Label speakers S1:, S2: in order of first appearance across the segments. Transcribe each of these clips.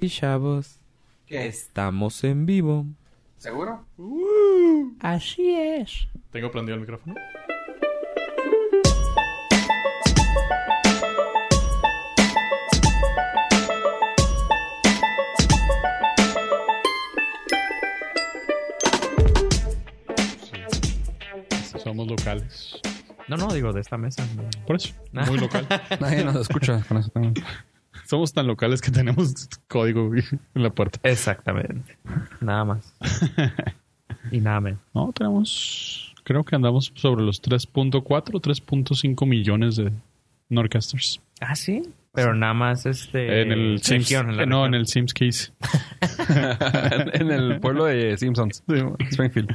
S1: Y chavos,
S2: ¿Qué?
S1: estamos en vivo.
S2: ¿Seguro?
S1: Así es.
S3: Tengo prendido el micrófono. Sí. Somos locales.
S4: No, no, digo, de esta mesa. Ah. no.
S3: Por eso, muy local.
S2: Nadie nos escucha con eso también.
S3: Somos tan locales que tenemos código güey, en la puerta.
S4: Exactamente. Nada más. y nada menos.
S3: No, tenemos. Creo que andamos sobre los 3.4, 3.5 millones de Norcasters.
S4: Ah, sí. Pero nada más este.
S3: en el Sims.
S4: región, en la
S3: no, en
S4: región.
S3: el Sims Keys.
S2: en el pueblo de Simpsons, Springfield.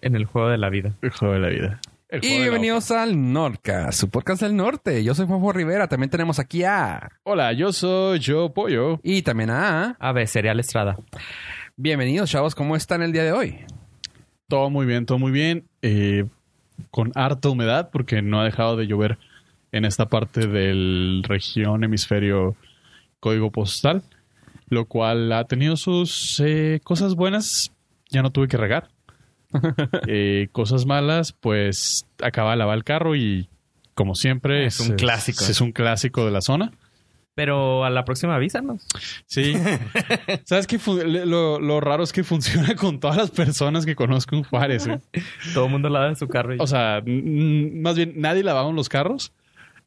S4: En el juego de la vida.
S3: El juego de la vida. El
S2: Y
S3: juego de la
S2: bienvenidos al Norca, su podcast del norte. Yo soy Juanjo Rivera. También tenemos aquí a.
S3: oca. Hola, yo soy Yo Pollo.
S2: Y también a.
S4: A ver, Cereal Estrada.
S2: Bienvenidos, chavos. ¿Cómo están el día de hoy?
S3: Todo muy bien, todo muy bien. Eh, con harta humedad porque no ha dejado de llover en esta parte del región hemisferio código postal, lo cual ha tenido sus eh, cosas buenas. Ya no tuve que regar. Eh, cosas malas, pues acaba de lavar el carro y como siempre
S4: Es un clásico.
S3: Es un clásico de la zona.
S4: Pero a la próxima avísanos.
S3: Sí. ¿Sabes qué? Fu- Lo, lo raro es que funciona con todas las personas que conozco en Juárez. güey.
S4: Todo el mundo lava su carro. y-
S3: O sea, n- n- más bien nadie lavaba en los carros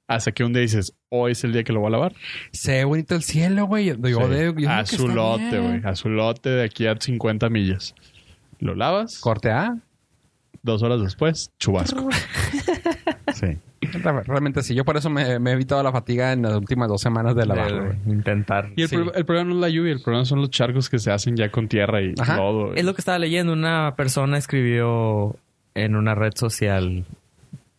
S3: hasta que un día dices, hoy es el día que lo voy a lavar.
S2: Se ve bonito el cielo, güey. Yo, yo
S3: Sí.
S2: de- yo digo que
S3: a
S2: está
S3: su lote,
S2: bien.
S3: güey. A su lote de aquí a 50 millas. Lo lavas,
S2: Corte A.
S3: dos horas después, chubasco. sí.
S2: Re- Realmente sí. Yo por eso me, me he evitado la fatiga en las últimas dos semanas de la
S4: de-
S2: baja, güey.
S4: intentar.
S3: Y el,
S4: sí.
S3: pro- el problema no es la lluvia, el problema son los charcos que se hacen ya con tierra y
S2: Ajá.
S3: lodo. güey.
S4: Es lo que estaba leyendo. Una persona escribió en una red social.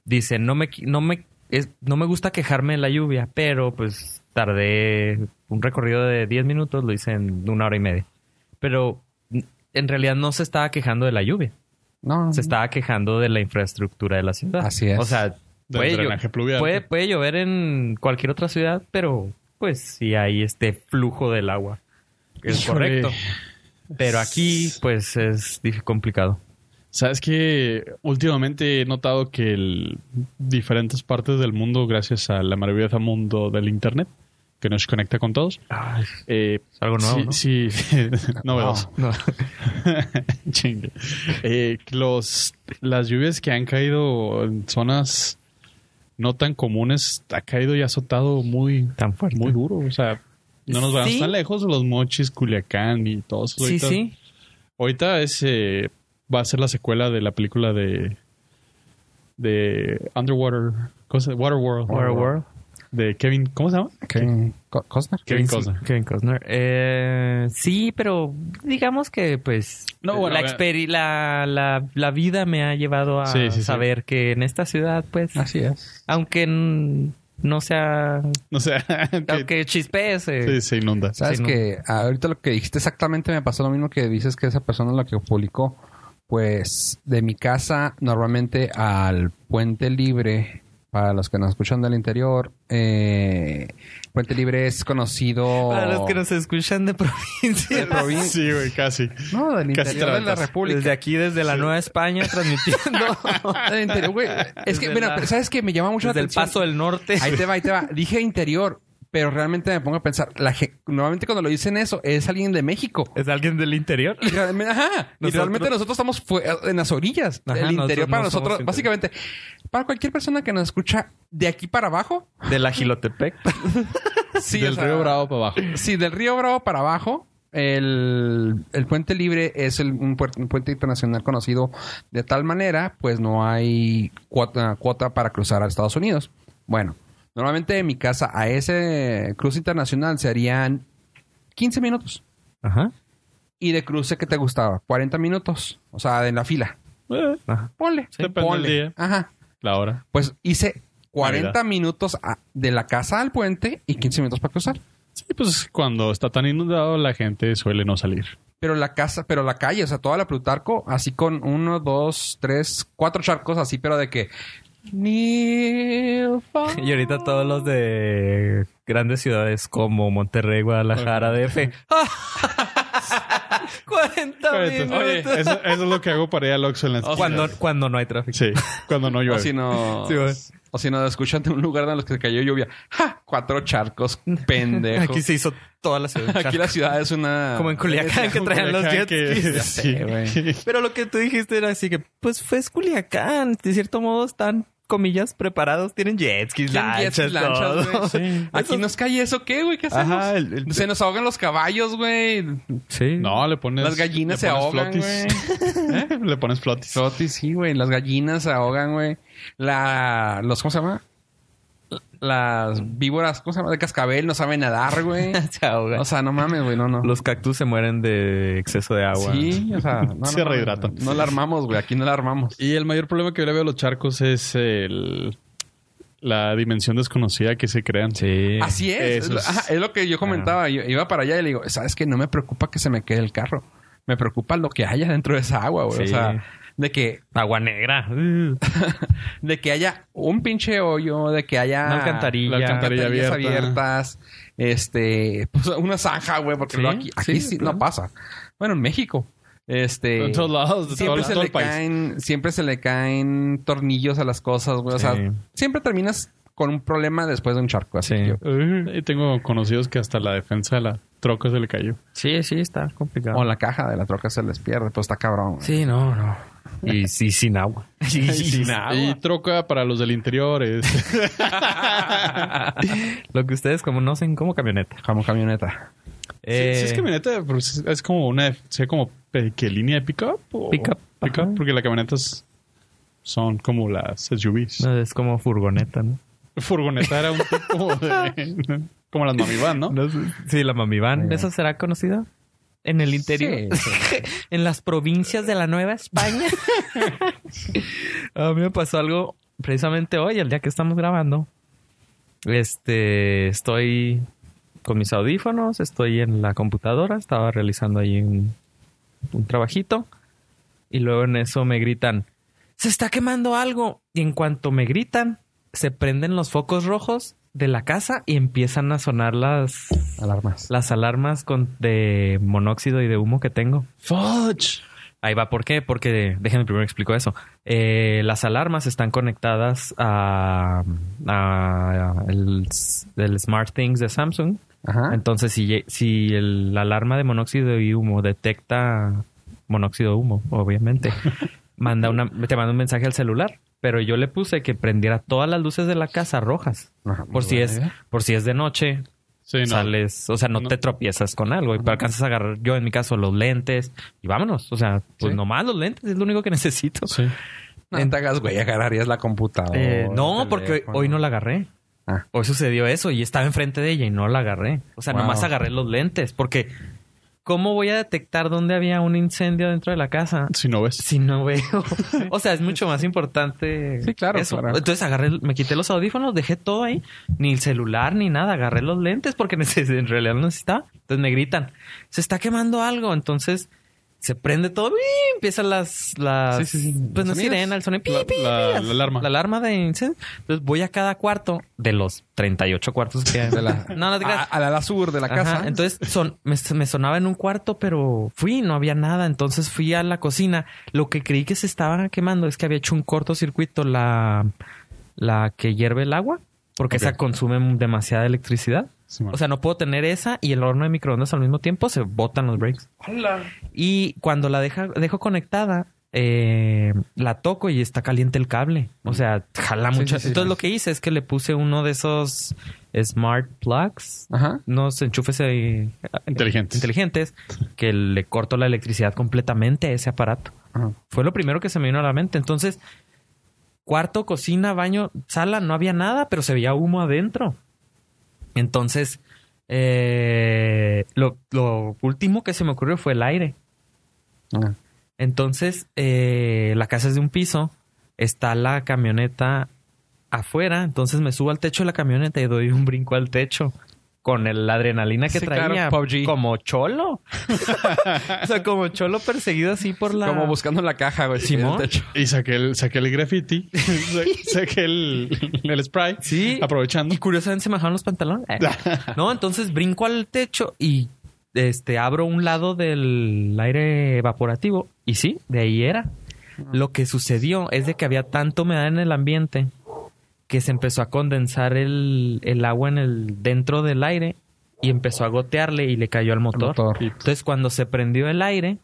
S4: Dice, no me, qui- no me, es- no me gusta quejarme de la lluvia, pero pues tardé un recorrido de 10 minutos, lo hice en una hora y media. Pero n- en realidad no se estaba quejando de la lluvia,
S2: No.
S4: se estaba quejando de la infraestructura de la ciudad.
S2: Así es.
S4: O sea,
S3: Del
S4: puede, llo-
S3: drenaje pluvial.
S4: puede, puede llover en cualquier otra ciudad, pero pues si hay este flujo del agua. Es
S3: Híjole.
S4: correcto. Pero aquí, pues, es dif- complicado.
S3: Sabes que últimamente he notado que el- diferentes partes del mundo, gracias a la maravillosa mundo del internet, que nos conecta con todos, eh,
S4: es algo nuevo, ¿no?
S3: sí, sí, novedoso.
S4: No.
S3: Chingue. Eh, los, las lluvias que han caído en zonas no tan comunes, ha caído y azotado muy,
S4: Tan fuerte.
S3: muy duro. O sea, no nos vamos
S4: Sí.
S3: tan lejos, los mochis, Culiacán y todos.
S4: sí,
S3: ahorita-
S4: sí.
S3: Ahorita es, eh, va a ser la secuela de la película de de Underwater, cosa, Waterworld,
S4: Waterworld.
S3: de Kevin, ¿cómo se llama?
S2: Kevin Co- Costner.
S3: Kevin Costner.
S4: Kevin Costner. Eh, sí, pero digamos que, pues,
S3: No, bueno,
S4: la,
S3: vea.
S4: experi- la, la, la vida me ha llevado a
S3: Sí, Ah. sí, sí.
S4: saber que en esta ciudad, pues,
S2: Así es.
S4: aunque n- no sea...
S3: No sé, que-
S4: Aunque chispees, eh,
S3: sí, se inunda.
S2: Sabes
S4: Sí, ¿no?
S2: que ahorita lo que dijiste exactamente me pasó lo mismo que dices que esa persona lo que publicó. Pues de mi casa normalmente al puente libre, para los que nos escuchan del interior, eh, puente libre es conocido...
S4: Para los que nos escuchan de provincia.
S2: de provin-
S3: Sí, güey, casi.
S2: No, del
S3: Casi
S2: interior
S3: te
S2: de la
S3: levantas.
S2: República.
S4: Desde aquí, desde la Nueva España, transmitiendo
S2: Del interior, güey. Es que,
S4: Desde
S2: mira,
S4: la-
S2: pero ¿sabes que Me llama mucho
S4: desde
S2: la
S4: el
S2: atención.
S4: Paso del Norte.
S2: Ahí te va, ahí te va. Dije interior, pero realmente me pongo a pensar. La ge- Normalmente cuando lo dicen eso, es alguien de México.
S4: ¿Es alguien del interior?
S2: Y realmente, ajá, y
S4: Nosotros-
S2: realmente nosotros estamos fue- eh, en las orillas.
S4: Ajá,
S2: el
S4: nosotros
S2: interior para
S4: no somos
S2: nosotros,
S4: interior.
S2: básicamente, para cualquier persona que nos escucha de aquí para abajo,
S4: De la Gilotepec.
S2: sí,
S3: Del
S2: o sea,
S3: río Bravo para abajo.
S2: Sí, del río Bravo para abajo. El, el puente libre es el- un, puer- un puente internacional conocido de tal manera, pues no hay cuota, cuota para cruzar a Estados Unidos. Bueno, normalmente de mi casa a ese cruce internacional serían 15 minutos.
S4: Ajá.
S2: Y de cruce que te gustaba, 40 minutos. O sea, en la fila.
S3: Eh,
S4: Ajá.
S2: Ponle.
S3: Sí, depende
S2: ponle.
S3: del día.
S2: Ajá.
S3: la hora.
S2: Pues hice 40
S3: Navidad.
S2: minutos a- de la casa al puente y 15 minutos para cruzar.
S3: Sí, pues cuando está tan inundado la gente suele no salir.
S2: Pero la casa, pero la calle, o sea, toda la Plutarco, así con uno, dos, tres, cuatro charcos, así, pero de que
S4: Y ahorita todos los de grandes ciudades como Monterrey, Guadalajara, DF. 40 minutos.
S3: Oye, eso, eso es lo que hago para ir al Oxxo en las
S4: cuando,
S3: esquinas.
S4: cuando no hay tráfico.
S3: Sí, cuando no
S2: O
S3: llueve.
S2: si no.
S4: Sí, güey.
S2: o si no, escuchan de un lugar en los que se cayó lluvia. ¡Ja! Cuatro charcos, pendejo.
S4: Aquí se hizo toda la ciudad.
S2: Aquí la ciudad es una.
S4: Como en Culiacán que traían los
S3: Culiacán
S4: jet skis.
S3: que- sí.
S4: Pero lo que tú dijiste era así que, pues fue es Culiacán. De cierto modo están, comillas, preparados. Tienen jet skis,
S2: Tienen jet
S4: lanchas,
S2: skis, lanchas,
S4: todo.
S2: güey. Aquí
S4: Eso-
S2: nos cae eso, ¿qué, güey? ¿Qué hacemos?
S3: Ajá, el- el-
S2: Se nos ahogan los caballos, güey.
S4: Sí.
S3: No, le pones.
S2: Las gallinas
S3: le
S2: se
S3: pones
S2: ahogan,
S3: flotis. ¿Eh? Le pones flotis.
S2: Sotis, sí, güey. Las gallinas se ahogan, güey. La... Los, ¿Cómo se llama? Las víboras, ¿cómo se llama? De cascabel, no saben nadar, güey.
S4: Se ahogan.
S2: O sea, no mames, güey. No, no.
S4: Los cactus se mueren de exceso de agua.
S2: Sí, o sea... No,
S3: Se
S2: no, no,
S3: rehidratan.
S2: No, la armamos, güey. Aquí no la armamos.
S3: Y el mayor problema que yo le veo a los charcos es el, la dimensión desconocida que se crean.
S4: Sí.
S2: Así es.
S3: Eso es- Ah.
S2: Ajá, es lo que yo comentaba. Yo iba para allá y le digo, ¿sabes qué? No me preocupa que se me quede el carro. Me preocupa lo que haya dentro de esa agua, güey. O
S4: Sí.
S2: sea, de que
S4: Agua negra.
S2: de que haya un pinche hoyo, de que haya
S4: Una alcantarilla.
S3: La alcantarilla
S2: alcantarillas
S3: abierta.
S2: abiertas, este, pues una zanja, güey, porque
S4: Sí,
S2: luego aquí, aquí
S4: sí,
S2: sí
S4: claro.
S2: no pasa. Bueno, en México, este,
S3: En todos lados, de todo,
S2: siempre se
S3: todo
S2: le
S3: el país.
S2: caen, siempre se le caen tornillos a las cosas, güey, o sea,
S4: Sí.
S2: siempre terminas con un problema después de un charco, así.
S4: Sí.
S2: que yo-
S3: Y tengo conocidos que hasta la defensa de la troca se le cayó.
S4: Sí, sí, está complicado.
S2: O la caja de la troca se les pierde, pues está cabrón. güey.
S4: Sí, no, no. Y sí, sin agua. Y sin
S3: Y troca para los del interior es...
S4: Lo que ustedes conocen como camioneta.
S2: Como camioneta.
S4: Eh,
S3: Sí, sí es camioneta, pero es es como una... Sea como... eh, ¿Qué línea de pick-up? o-
S4: Pick-up,
S3: pick-up,
S4: ajá.
S3: porque las camionetas son como las SUVs.
S4: no, es como furgoneta, ¿no?
S3: Furgoneta era un tipo de... como las mamivan, ¿no?
S4: No sé. Sí, la Mami Van. ¿Esa será conocida? En el interior.
S2: Sí,
S4: en las provincias de la Nueva España. A mí me pasó algo precisamente hoy, el día que estamos grabando. Este, estoy con mis audífonos, estoy en la computadora, estaba realizando ahí un, un trabajito. Y luego en eso me gritan, se está quemando algo. Y en cuanto me gritan, se prenden los focos rojos de la casa y empiezan a sonar las,
S2: Alarmas.
S4: las alarmas con, de monóxido y de humo que tengo.
S3: ¡Fudge!
S4: Ahí va, ¿por qué? Porque, déjenme primero explico eso. Eh, las alarmas están conectadas a, a el, el Smart Things de Samsung.
S2: Ajá.
S4: Entonces, si, lle- si el- la alarma de monóxido y humo detecta monóxido de humo, obviamente, manda una, te manda un mensaje al celular. Pero yo le puse que prendiera todas las luces de la casa rojas.
S2: Ajá, muy
S4: Por si,
S2: buena
S4: es,
S2: idea.
S4: por si es de noche,
S3: Sí, no.
S4: sales, o sea, no,
S3: No.
S4: te tropiezas con algo y alcanzas a agarrar yo en mi caso los lentes y vámonos, o sea, pues
S2: Sí.
S4: nomás los lentes es lo único que necesito.
S3: Sí.
S2: No te hagas, güey, agarrarías la computadora.
S4: Eh, no,
S2: el
S4: porque hoy,
S2: Oh, teléfono.
S4: hoy no la agarré.
S2: Ah.
S4: Hoy sucedió eso y estaba enfrente de ella y no la agarré. O sea,
S2: Wow.
S4: nomás agarré los lentes porque ¿cómo voy a detectar dónde había un incendio dentro de la casa?
S3: Si no ves.
S4: Si no veo. O sea, es mucho más importante.
S2: Sí, claro, claro.
S4: Entonces agarré, me quité los audífonos, dejé todo ahí, ni el celular ni nada, agarré los lentes porque neces- en realidad no necesitaba. Entonces me gritan, se está quemando algo. Entonces se prende todo y empiezan las, las,
S2: Sí, sí, sí.
S4: pues no
S2: Sonidos.
S4: sirena, el sonido, pi,
S3: La-
S4: pi,
S3: la-
S4: las-
S3: la alarma.
S4: La alarma de incendio. Entonces voy a cada cuarto de los 38 cuartos que hay.
S2: De la-
S4: No, no te
S2: a,
S4: creas.
S2: a la, la sur de la
S4: Ajá,
S2: casa.
S4: Entonces son, me, me sonaba en un cuarto, pero fui, no había nada. Entonces fui a la cocina. Lo que creí que se estaba quemando es que había hecho un cortocircuito la, la que hierve el agua, porque
S3: Ok.
S4: esa consume demasiada electricidad.
S3: Simón.
S4: O sea, no puedo tener esa y el horno de microondas al mismo tiempo, se botan los breaks. Y cuando la deja- dejo conectada, eh, la toco y está caliente el cable. O sea, jala
S2: Sí,
S4: mucho.
S2: sí, sí.
S4: Entonces lo que hice es que le puse uno de esos smart plugs,
S2: Ajá.
S4: unos enchufes eh,
S3: Inteligentes.
S4: inteligentes que le corto la electricidad completamente a ese aparato.
S2: Ajá.
S4: Fue lo primero que se me vino a la mente. Entonces, cuarto, cocina, baño, sala, no había nada, pero se veía humo adentro. Entonces, eh, lo, lo último que se me ocurrió fue el aire.
S2: Ajá.
S4: Entonces, eh, la casa es de un piso, está la camioneta afuera, entonces me subo al techo de la camioneta y doy un brinco al techo. con el- la adrenalina que
S2: Sí, claro,
S4: traía.
S2: PUBG.
S4: Como cholo. o sea, como cholo perseguido así por la...
S2: Como buscando en la caja, güey.
S4: ¿Simón?
S2: en el techo.
S3: Y saqué el, saqué el graffiti, sa- saqué el, el spray,
S4: Sí.
S3: aprovechando.
S4: Y curiosamente se me bajaron los pantalones. Eh. No, entonces brinco al techo y este abro un lado del aire evaporativo. Y sí, de ahí era. Lo que sucedió es de que había tanto humedad en el ambiente que se empezó a condensar el, el agua en el dentro del aire y empezó a gotearle y le cayó al motor.
S2: motor.
S4: Entonces cuando se prendió el aire,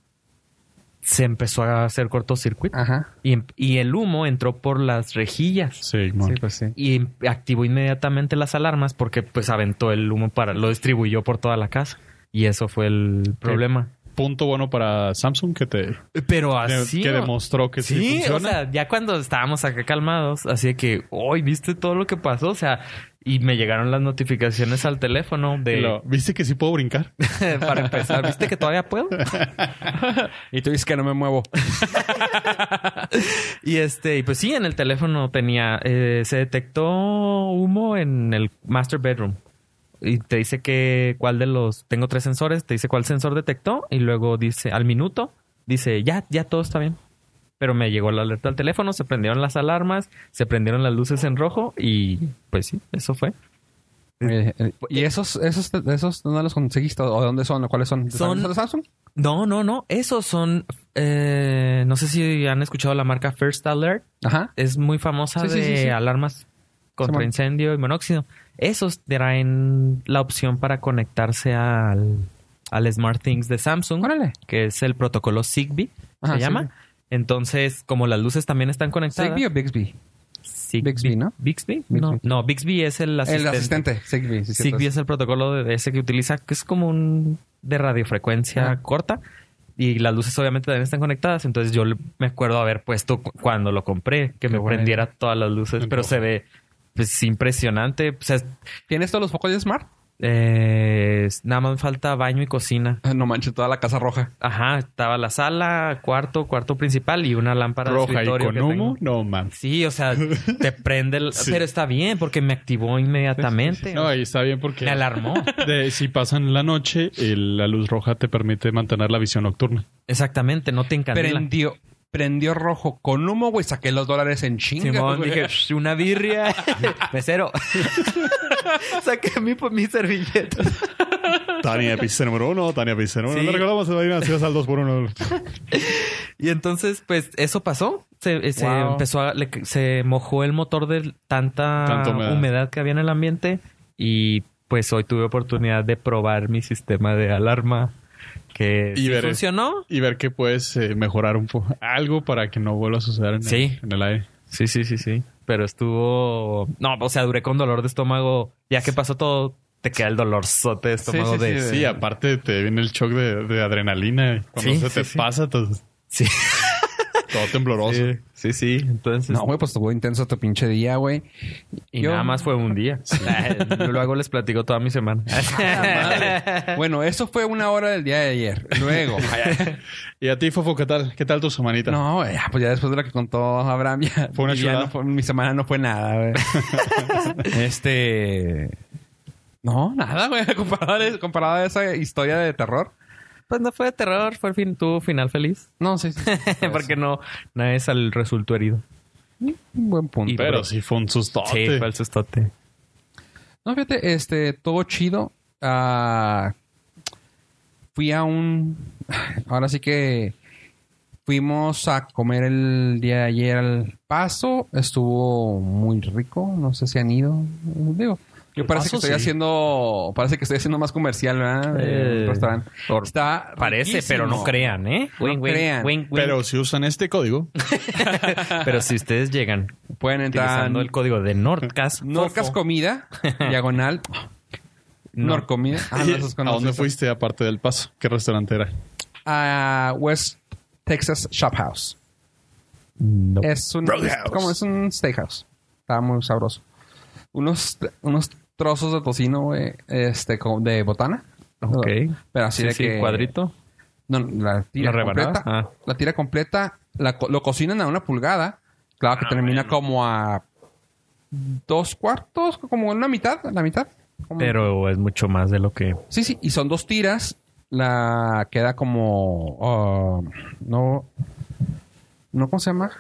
S4: se empezó a hacer cortocircuito
S2: Ajá.
S4: y, em- y el humo entró por las rejillas
S3: Sí,
S2: Sí,
S3: mon.
S2: pues sí.
S4: y em- activó inmediatamente las alarmas porque pues aventó el humo para lo distribuyó por toda la casa y eso fue el problema.
S3: Punto bueno para Samsung que te
S4: Pero
S3: de-
S4: así
S3: que
S4: ¿no?
S3: demostró que sí,
S4: ¿Ah, Sí, o
S3: funciona.
S4: sea, ya cuando estábamos acá calmados, así de que hoy viste todo lo que pasó, o sea, y me llegaron las notificaciones al teléfono de
S3: Lo- ¿Viste que sí puedo brincar?
S4: para empezar, ¿viste que todavía puedo?
S2: Y tú dices que no me muevo.
S4: Y este, y pues sí, en el teléfono tenía, eh, se detectó humo en el master bedroom. Y te dice que cuál de los, tengo tres sensores, te dice cuál sensor detectó y luego dice, al minuto, dice, ya, ya todo está bien. Pero me llegó la alerta al teléfono, se prendieron las alarmas, se prendieron las luces en rojo y pues sí, eso fue.
S2: Eh, eh, ¿Y esos, esos, esos, dónde los conseguiste? ¿O dónde son? ¿O cuáles son? ¿De
S4: Son-
S2: de Samsung?
S4: No, no, no, esos son, eh, no sé si han escuchado la marca First Alert.
S2: Ajá.
S4: es muy famosa
S2: Sí, sí,
S4: de
S2: sí, sí.
S4: alarmas contra
S2: Simón.
S4: incendio y monóxido. Esos traen la opción para conectarse al, al Smart Things de Samsung,
S2: Órale.
S4: que es el protocolo Zigbee,
S2: Ajá,
S4: se llama.
S2: Zigbee.
S4: Entonces, como las luces también están conectadas.
S2: Zigbee o Bixby?
S4: Zigbee-
S2: Bixby, ¿no?
S4: Bixby?
S2: Bixby.
S4: No, no, Bixby es el asistente.
S2: El asistente. Zigbee. sí, cierto.
S4: Zigbee es el protocolo de de ese que utiliza, que es como un de radiofrecuencia
S2: Ajá.
S4: corta. Y las luces obviamente también están conectadas. Entonces yo le- me acuerdo haber puesto cu- cuando lo compré, que me
S2: bueno.
S4: prendiera todas las luces.
S3: En
S4: Pero
S3: rojo.
S4: se ve pues, impresionante. O sea, es-
S2: ¿Tienes todos los focos de Smart?
S4: eh, es- nada más falta baño y cocina.
S2: Ah, No manches, toda la casa roja.
S4: Ajá, estaba la sala, cuarto, cuarto principal y una lámpara de
S3: Roja y
S4: escritorio.
S3: con
S4: que
S3: humo,
S4: tengo.
S3: no mames.
S4: Sí, o sea, te prende el...
S3: Sí.
S4: Pero está bien porque me activó inmediatamente.
S3: No, ahí está bien porque
S4: me alarmó.
S3: de- si pasan la noche, el- la luz roja te permite mantener la visión nocturna.
S4: Exactamente, no te encandila.
S2: Prendió. Prendió rojo con humo, güey. Saqué los dólares en chinga.
S4: Simón,
S2: güey.
S4: dije, "Shh, una birria. Mesero. Saqué mi, mi servilleta.
S3: Tania pizza número uno, Tania pizza número
S4: Sí.
S3: uno. Le recordamos a Marina, si vas al dos por uno.
S4: Y entonces, pues, eso pasó. Se, se
S2: Wow.
S4: empezó a... le- se mojó el motor de tanta
S3: Tanta humedad.
S4: humedad. que había en el ambiente. Y, pues, hoy tuve oportunidad de probar mi sistema de alarma. Que
S3: Y
S4: sí
S3: veré.
S4: funcionó.
S3: Y ver que puedes eh, mejorar un poco algo para que no vuelva a suceder en,
S4: Sí.
S3: el, en el aire.
S4: Sí, sí, sí, sí. Pero estuvo... No, o sea, duré con dolor de estómago. Ya que pasó todo, te queda el dolorzote de estómago
S2: sí,
S4: de...
S2: sí,
S3: Sí, aparte te viene el shock de, de adrenalina. Cuando
S4: Sí,
S3: se
S4: sí,
S3: te
S4: sí.
S3: pasa, todo,
S4: Sí.
S3: todo tembloroso.
S4: Sí, sí, sí. Entonces...
S2: No, güey, pues estuvo intenso tu pinche día, güey.
S4: Y
S2: Yo-
S4: nada más fue un día. Luego les platico toda mi semana.
S2: Bueno, eso fue una hora del día de ayer. Luego.
S3: Y a ti, Fofo, ¿qué tal? ¿Qué tal tu semanita?
S2: No, güey, ah, pues ya después de lo que contó Abraham, ya,
S3: Fue una
S2: ya
S3: chulada.
S2: no fue- mi semana no fue nada, güey. este... No, nada, güey, comparado, a- comparado a esa historia de terror.
S4: pues no fue de terror, fue fin, tu final feliz.
S2: No, sí, sí. sí, fue
S4: Porque no, nadie sal, resultó herido.
S2: un buen punto.
S4: Y-
S3: Pero
S4: por-
S3: sí fue un
S4: Sí,
S3: sustote.
S4: fue el sustote.
S2: No, fíjate, este, todo chido. Ah, fui a un... Ahora sí que... Fuimos a comer el día de ayer al paso. Estuvo muy rico. No sé si han ido. Digo, yo
S4: El
S2: parece
S4: Paso,
S2: que estoy
S4: sí.
S2: haciendo... Parece que estoy haciendo más comercial, ¿verdad?
S4: Eh,
S2: El restaurante.
S4: por-
S2: Está
S4: Parece,
S2: riquísimo.
S4: pero no crean, ¿eh?
S2: No crean.
S3: Pero si usan este código,
S4: Pero si ustedes llegan
S2: Pueden entrar...
S4: utilizando el código de Nordcast,
S2: Norcas
S4: Fofo,
S2: Comida, diagonal.
S4: Nor-
S2: Norcomida. Ah, no, esos
S3: ¿a dónde
S2: conoces.
S3: fuiste aparte del paso? ¿Qué restaurante era?
S2: a West Texas Shop House.
S4: no.
S2: Es un
S3: Roadhouse.
S2: como es un steakhouse. Está muy sabroso. Unos unos trozos de tocino güey, este como de botana.
S4: Ok.
S2: Pero así
S4: Sí,
S2: de
S4: sí,
S2: que
S4: cuadrito.
S2: No, la tira
S4: ¿La rebanada?
S2: completa.
S4: Ah.
S2: La tira completa, la co- lo cocinan a una pulgada. Claro que termina como a dos cuartos, como en la mitad, la mitad. ¿Cómo?
S4: Pero es mucho más de lo que.
S2: Sí, sí, y son dos tiras. La queda como. ah, no. No, ¿cómo se llama?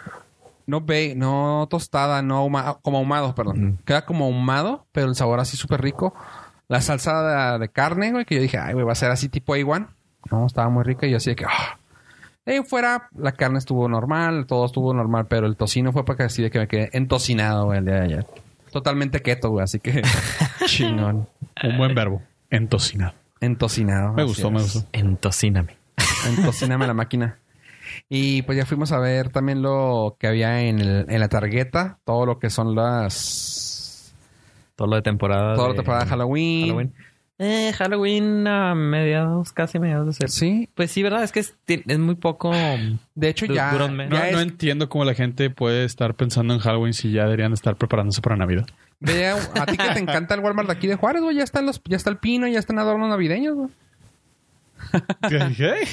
S2: No ve, no tostada, no ahuma- ah, como ahumado, perdón. Queda como ahumado, pero el sabor así súper rico. La salsa de, de carne, güey, que yo dije, ay, güey, va a ser así tipo A1. No, estaba muy rica y yo así de que. ah. De ahí fuera, la carne estuvo normal, todo estuvo normal, pero el tocino fue para que así de que me quedé entocinado, güey, el día de ayer. Totalmente keto, güey, así que. chingón.
S3: Un buen verbo. Entocinar.
S2: Entocinado.
S3: Me
S2: Eh, así
S3: gustó, me
S2: es.
S3: gustó.
S4: Entocíname.
S2: Entocíname la máquina. Y pues ya fuimos a ver también lo que había en, el- en la tarjeta, todo lo que son las...
S4: Todo lo de temporada.
S2: Todo lo
S4: Ah, de-
S2: que para Halloween.
S4: Halloween. Eh, Halloween a mediados, casi mediados de septiembre.
S2: Sí.
S4: Pues sí, ¿verdad? Es que es, es muy poco.
S2: De hecho
S4: Du-
S2: ya...
S4: dura un mes.
S2: ya
S3: No, no
S2: es-
S3: entiendo cómo la gente puede estar pensando en Halloween si ya deberían estar preparándose para Navidad.
S2: ve a, a ti que te encanta el Walmart de aquí de Juárez, güey. Ya, están los- ya está el pino, ya están adornos navideños, güey.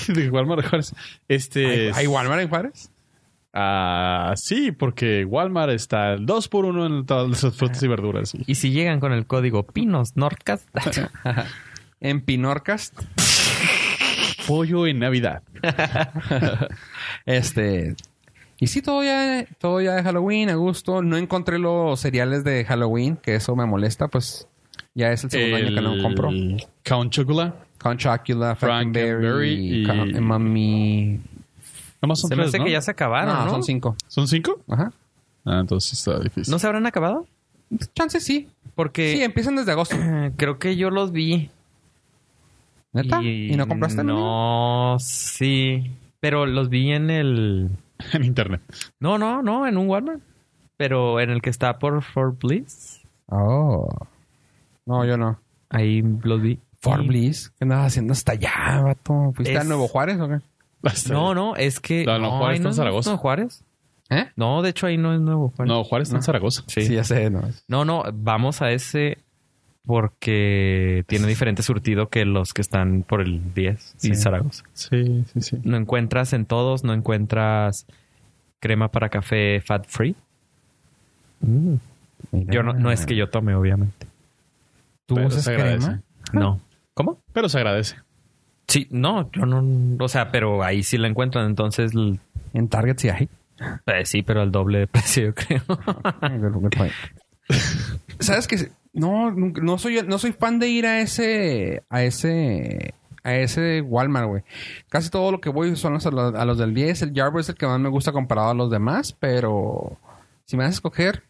S3: De Walmart Juárez. Este.
S2: ¿Hay Walmart en Juárez?
S3: Ah, sí, porque Walmart está el 2 por 1 en todas las frutas y verduras.
S4: Y si llegan con el código Pinos Nordcast,
S2: En Pinorcast.
S3: Pollo en Navidad.
S2: Este. Y sí, todo ya, todo ya de Halloween, a gusto. No encontré los cereales de Halloween, que eso me molesta, pues ya es el segundo año que no compro.
S3: Count Chocula.
S2: Con Chocula, Frankenberry,
S3: Frankenberry y-
S2: Ca- eh, Mami.
S3: Nomás son
S4: se me
S3: tres,
S4: hace
S3: ¿no?
S4: que ya se acabaron, ¿no?
S2: no, son cinco.
S3: ¿Son cinco?
S2: Ajá.
S3: Ah, entonces está difícil.
S4: ¿No se habrán acabado?
S2: Chance sí.
S4: Porque
S2: Sí, empiezan desde agosto.
S4: eh, creo que yo los vi.
S2: ¿Neta? ¿Y, no compraste? amigo?
S4: No, sí. Pero los vi en el.
S3: en internet.
S4: No, no, no, en un Walmart. Pero en el que está por Fort Bliss.
S2: Oh. No, yo no.
S4: Ahí los vi.
S2: Fort
S4: Y-
S2: Bliss. ¿Qué andabas haciendo hasta allá, vato? ¿Fuiste a
S4: Es-
S2: Nuevo Juárez o qué?
S3: Basta.
S4: No, no, es que.
S3: No, no, Juárez
S4: ahí
S3: está en
S4: es
S3: Zaragoza.
S4: Nuevo Juárez.
S2: ¿Eh?
S4: No, de hecho ahí no es Nuevo Juárez.
S3: No, Juárez está en Zaragoza.
S2: Sí. ya sé. No.
S4: No, no, vamos a ese porque tiene diferente surtido que los que están por el 10
S2: Sí.
S4: y Zaragoza.
S3: Sí, sí, sí.
S4: No encuentras en todos, no encuentras crema para café fat free. Mm,
S2: Mira.
S4: Yo no, no es que yo tome, obviamente.
S2: ¿Tú
S3: Pero
S2: usas
S3: se agradece.
S2: crema?
S4: No. Ah. ¿Cómo?
S3: Pero se agradece.
S4: Sí, no, yo no, o sea, pero ahí sí la encuentran, entonces l-
S2: En Target sí hay.
S4: eh, sí, pero al doble de precio, yo creo.
S2: Good- good point. ¿Sabes qué? No, nunca- no soy, no soy fan de ir a ese, a ese, a ese Walmart, güey. Casi todo lo que voy son los- a los, a los del 10. El Jarbo es el que más me gusta comparado a los demás, pero si me das a escoger,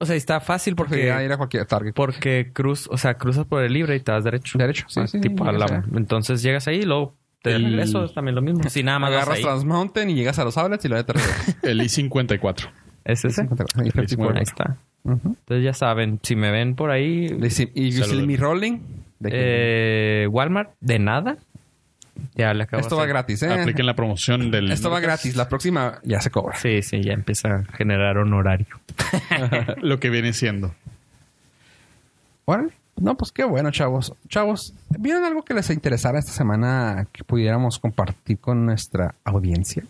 S4: O sea, está fácil porque
S2: preferiría ir a cualquier Target.
S4: Porque cruz, o sea, cruzas por el libre y te vas derecho.
S2: Derecho, sí,
S4: Ah,
S2: sí,
S4: tipo
S2: ya
S4: a la-
S2: sé.
S4: Entonces llegas ahí y luego te
S3: El-
S4: regreso, es también lo mismo. Si nada más vas
S2: Agarras
S4: ahí.
S2: Transmountain y llegas a los outlets y lo de
S3: El I-54.
S4: Es ese. Ahí está. Entonces ya saben, si me ven por ahí,
S2: Y
S3: Saludos.
S2: si mi rolling. de que-
S4: eh, Walmart, de nada. Ya le acabo.
S2: esto
S4: de
S2: va
S4: hacer.
S2: gratis, ¿eh?
S3: Apliquen la promoción del.
S2: Esto va gratis. La próxima ya se cobra.
S4: Sí, sí, ya empieza a generar honorario.
S3: Lo que viene siendo.
S2: Órale. No, pues qué bueno, chavos. Chavos, ¿vieron algo que les interesara esta semana que pudiéramos compartir con nuestra audiencia?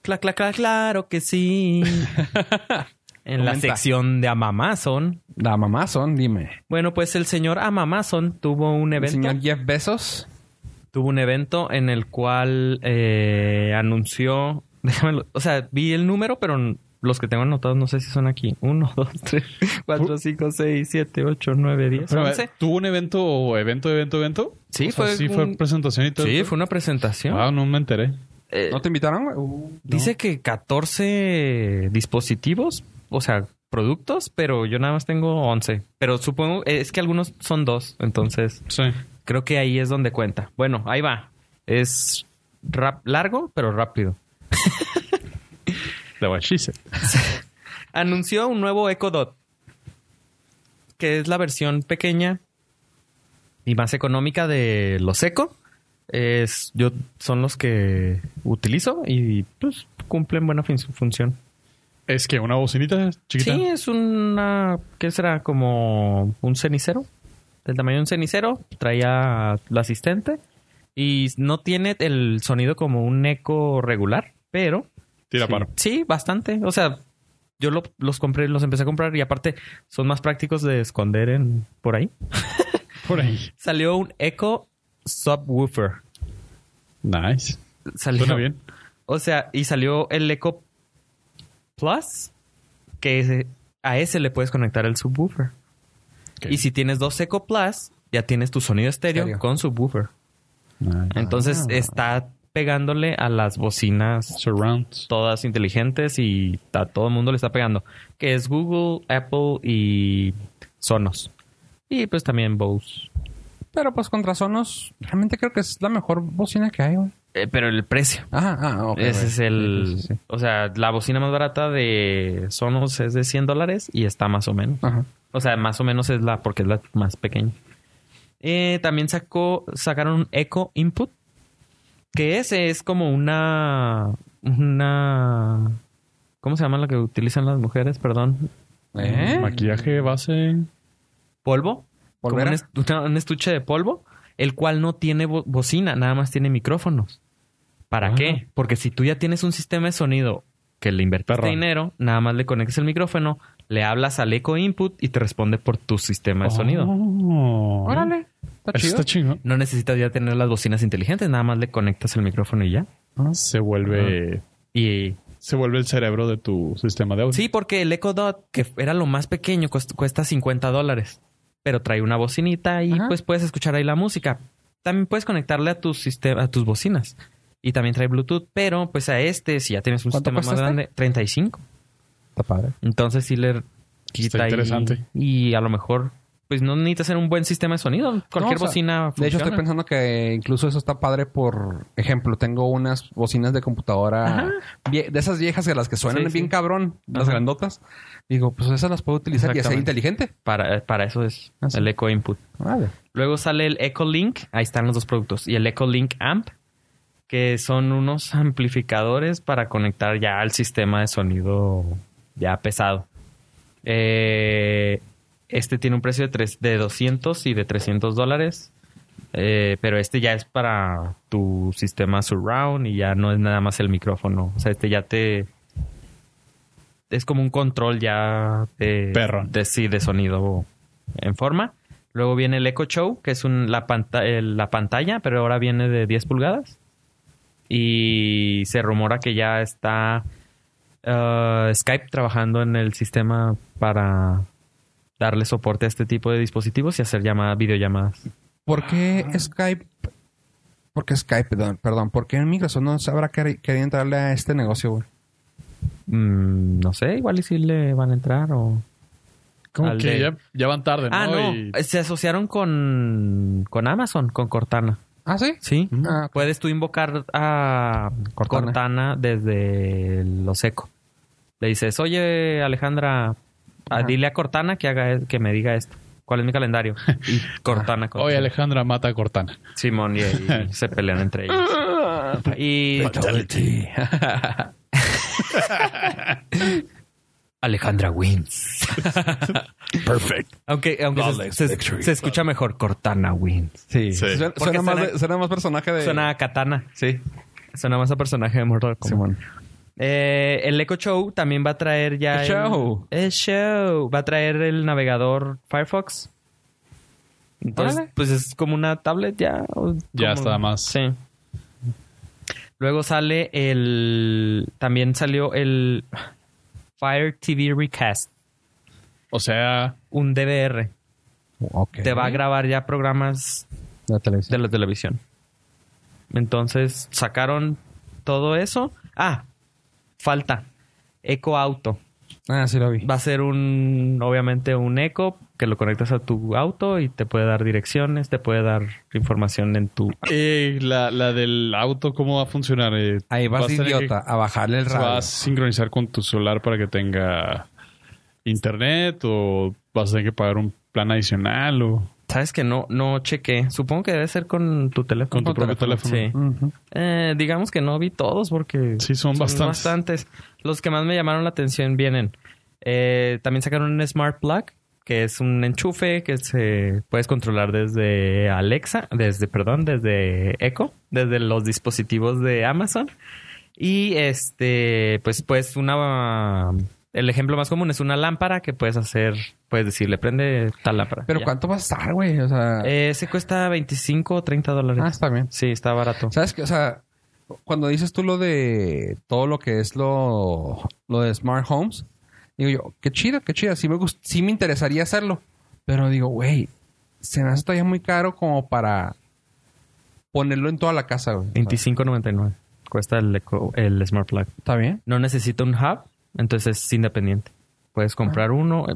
S4: Cla, cla, cla, claro que sí. en la
S2: Comenta.
S4: sección de Amazon.
S2: La mamazón, dime.
S4: Bueno, pues el señor Amazon tuvo un
S2: El
S4: evento.
S2: señor Jeff Bezos.
S4: tuvo un evento en el cual eh, anunció, déjame, lo- o sea, vi el número, pero n- los que tengo anotados no sé si son aquí. 1, 2, 3, 4, 5, 6, 7, 8, 9, 10,
S3: Pero, a ver,
S4: 11.
S3: ¿Tuvo un evento o evento, evento, evento?
S4: Sí,
S3: O sea,
S4: fue
S3: sí, fue
S4: un-
S3: presentación y todo.
S4: Sí, fue una presentación.
S3: Wow, no me enteré.
S4: Eh,
S2: ¿No te invitaron? güey? Uh, no.
S4: Dice que 14 dispositivos, o sea, productos, pero yo nada más tengo 11. Pero supongo, eh, es que algunos son dos, entonces
S3: Sí.
S4: creo que ahí es donde cuenta. Bueno, ahí va. Es rap largo, pero rápido.
S3: La guachise.
S4: anunció un nuevo Echo Dot, que es la versión pequeña y más económica de los Echo. Es, yo son los que utilizo y pues cumplen buena fin- función.
S3: Es que una bocinita chiquita.
S4: Sí, es una, ¿qué será? Como un cenicero, del tamaño de un cenicero. Traía la asistente y no tiene el sonido como un eco regular, pero
S3: Tira
S4: sí,
S3: paro.
S4: Sí, bastante. O sea, yo lo- los compré, los empecé a comprar y aparte son más prácticos de esconder en por ahí.
S3: Por ahí.
S4: Salió un Echo Subwoofer.
S3: Nice.
S4: Salió
S3: Suena bien.
S4: O sea, y salió el Echo Plus, que ese- a ese le puedes conectar el subwoofer.
S3: Ok.
S4: Y si tienes dos Echo Plus, ya tienes tu sonido estéreo
S2: Estéreo. Ah.
S4: con subwoofer.
S3: Nice.
S4: Entonces está pegándole a las bocinas
S3: Surrounds.
S4: todas inteligentes y a todo el mundo le está pegando. Que es Google, Apple y Sonos. Y pues también Bose.
S2: Pero pues contra Sonos, realmente creo que es la mejor bocina que hay, güey.
S4: Eh, pero el precio.
S2: Ah, ah, ok.
S4: Ese
S2: güey.
S4: es el...
S2: Sí, sí, sí.
S4: O sea, la bocina más barata de Sonos es de 100 dólares y está más o menos.
S2: Ajá.
S4: O sea, más o menos es la... Porque es la más pequeña. Eh, también sacó... Sacaron un Echo Input. Que ese es como una... Una... ¿Cómo se llama lo que utilizan las mujeres? Perdón.
S2: ¿Eh?
S3: Maquillaje base.
S4: polvo, como
S2: ¿Polvera?
S4: un, est- una- un estuche de polvo, el cual no tiene bo- bocina, nada más tiene micrófonos. ¿Para
S3: Ah.
S4: qué? Porque si tú ya tienes un sistema de sonido que le invertiste
S3: Perrón.
S4: dinero, nada más le conectas el micrófono, le hablas al eco input y te responde por tu sistema de sonido.
S3: Oh.
S2: Órale. Está
S3: Eso
S2: chido.
S3: está chingón.
S4: No necesitas ya tener las bocinas inteligentes, nada más le conectas el micrófono y ya.
S3: Se vuelve.
S4: Y
S3: Se vuelve el cerebro de tu sistema de audio.
S4: sí, porque el Echo Dot, que era lo más pequeño, cost- cuesta 50 dólares. Pero trae una bocinita y
S2: Ajá.
S4: pues puedes escuchar ahí la música. También puedes conectarle a tus sistema, a tus bocinas. Y también trae Bluetooth, pero pues a este, si ya tienes un
S2: ¿Cuánto
S4: sistema más
S2: cuesta este?
S4: grande, 35.
S2: Está padre.
S4: Entonces sí le quita ahí.
S3: interesante.
S4: Y a lo mejor, pues no necesitas hacer un buen sistema de sonido. Cualquier
S2: No, o sea,
S4: bocina funciona.
S2: De hecho, estoy pensando que incluso eso está padre. Por ejemplo, tengo unas bocinas de computadora vie- de esas viejas que las que suenan
S4: Sí, sí.
S2: bien cabrón, las
S4: Ajá.
S2: grandotas. Digo, pues esas las puedo utilizar y hacer
S4: Exactamente.
S2: inteligente.
S4: para, para eso es
S2: Ah, sí.
S4: el Echo Input.
S2: Vale.
S4: Luego sale el Echo Link, ahí están los dos productos, y el Echo Link Amp, que son unos amplificadores para conectar ya al sistema de sonido ya pesado. Eh, este tiene un precio de, tres, de 200 y de 300 dólares, eh, pero este ya es para tu sistema surround y ya no es nada más el micrófono. O sea, este ya te... Es como un control ya de,
S3: Perro.
S4: de, sí, de sonido en forma. Luego viene el Echo Show, que es un- la, panta- eh, la pantalla, pero ahora viene de 10 pulgadas. Y se rumora que ya está eh, Skype trabajando en el sistema para darle soporte a este tipo de dispositivos y hacer llamadas, videollamadas.
S2: ¿Por qué Skype? ¿Por qué Skype? Perdón, perdón. ¿Por qué Microsoft no sabrá quer- querer entrarle a este negocio, güey?
S4: Mm, no sé, igual y si le van a entrar o...
S3: Como
S4: Al
S3: que
S4: de-
S3: ya, ya van tarde,
S4: Ah,
S3: Pues ¿no?
S4: no,
S3: Y-
S4: se asociaron con, con Amazon, con Cortana.
S2: ¿Ah, sí?
S4: Sí.
S2: Ah, ok.
S4: Puedes tú invocar a Cortana,
S2: Cortana.
S4: desde lo seco. Le dices, oye Alejandra, a-
S2: Ajá.
S4: dile a Cortana que haga e, que me diga esto. ¿Cuál es mi calendario? Y Cortana, Cortana.
S3: Oye, Alejandra mata a Cortana.
S4: Simón y, y se pelean entre ellos. y Alejandra wins.
S3: Perfect.
S4: Aunque, aunque se- se, se escucha mejor Cortana wins.
S2: Sí.
S3: Sí.
S2: Suena,
S4: Porque
S2: suena más
S4: suena-
S2: de- suena más personaje de...
S4: Suena a Katana.
S2: Sí.
S4: Suena más a personaje de Mortal Kombat.
S2: Simón.
S4: Eh, el Echo Show también va a traer ya.
S2: El show.
S4: El show. Va a traer el navegador Firefox. Entonces,
S2: Órale.
S4: pues es como una tablet ya. o
S3: Ya
S4: como-
S3: está más.
S4: Sí. Luego sale el. También salió el Fire TV Recast,
S3: O sea,
S4: un DVR.
S2: Ok.
S4: Te va a grabar ya programas
S2: La
S4: de
S2: televisión.
S4: la televisión. Entonces sacaron todo eso. Ah, falta. Eco Auto.
S2: Ah, sí lo vi.
S4: Va a ser un, obviamente, un eco que lo conectas a tu auto y te puede dar direcciones, te puede dar información en tu...
S3: eh, la, la del auto, ¿cómo va a funcionar? Eh,
S2: Ahí vas,
S3: tener
S2: idiota, a bajarle el
S3: que- ¿Se va a
S2: radio.
S3: sincronizar con tu celular para que tenga internet o vas a tener que pagar un plan adicional o
S4: Sabes que no, no chequé. Supongo que debe ser con tu
S3: con
S4: teléfono.
S3: tu propio teléfono?
S4: Sí.
S2: Ujú.
S4: Eh, digamos que no vi todos porque...
S3: Sí, son bastantes.
S4: Los que más me llamaron la atención vienen. eh, también sacaron un Smart Plug, que es un enchufe que se puedes controlar desde Alexa, desde, perdón, desde Echo, desde los dispositivos de Amazon. Y este, pues, pues una El ejemplo más común es una lámpara que puedes hacer, puedes decirle, prende tal lámpara.
S2: Pero
S4: Ya.
S2: ¿cuánto va a estar, güey? O sea,
S4: Eh, ese cuesta 25 o 30 dólares.
S2: ah, está bien.
S4: Sí, está barato.
S2: ¿Sabes qué? O sea, cuando dices tú lo de todo lo que es lo, lo de smart homes, digo yo, qué chido, qué chido. Sí me, gust- sí me interesaría hacerlo. Pero digo, güey, se me hace todavía muy caro como para ponerlo en toda la casa, güey.
S4: 25.99 cuesta el, eco- el Smart Plug.
S2: ¿Está bien?
S4: No necesita un hub, entonces es independiente. Puedes comprar uno. eh,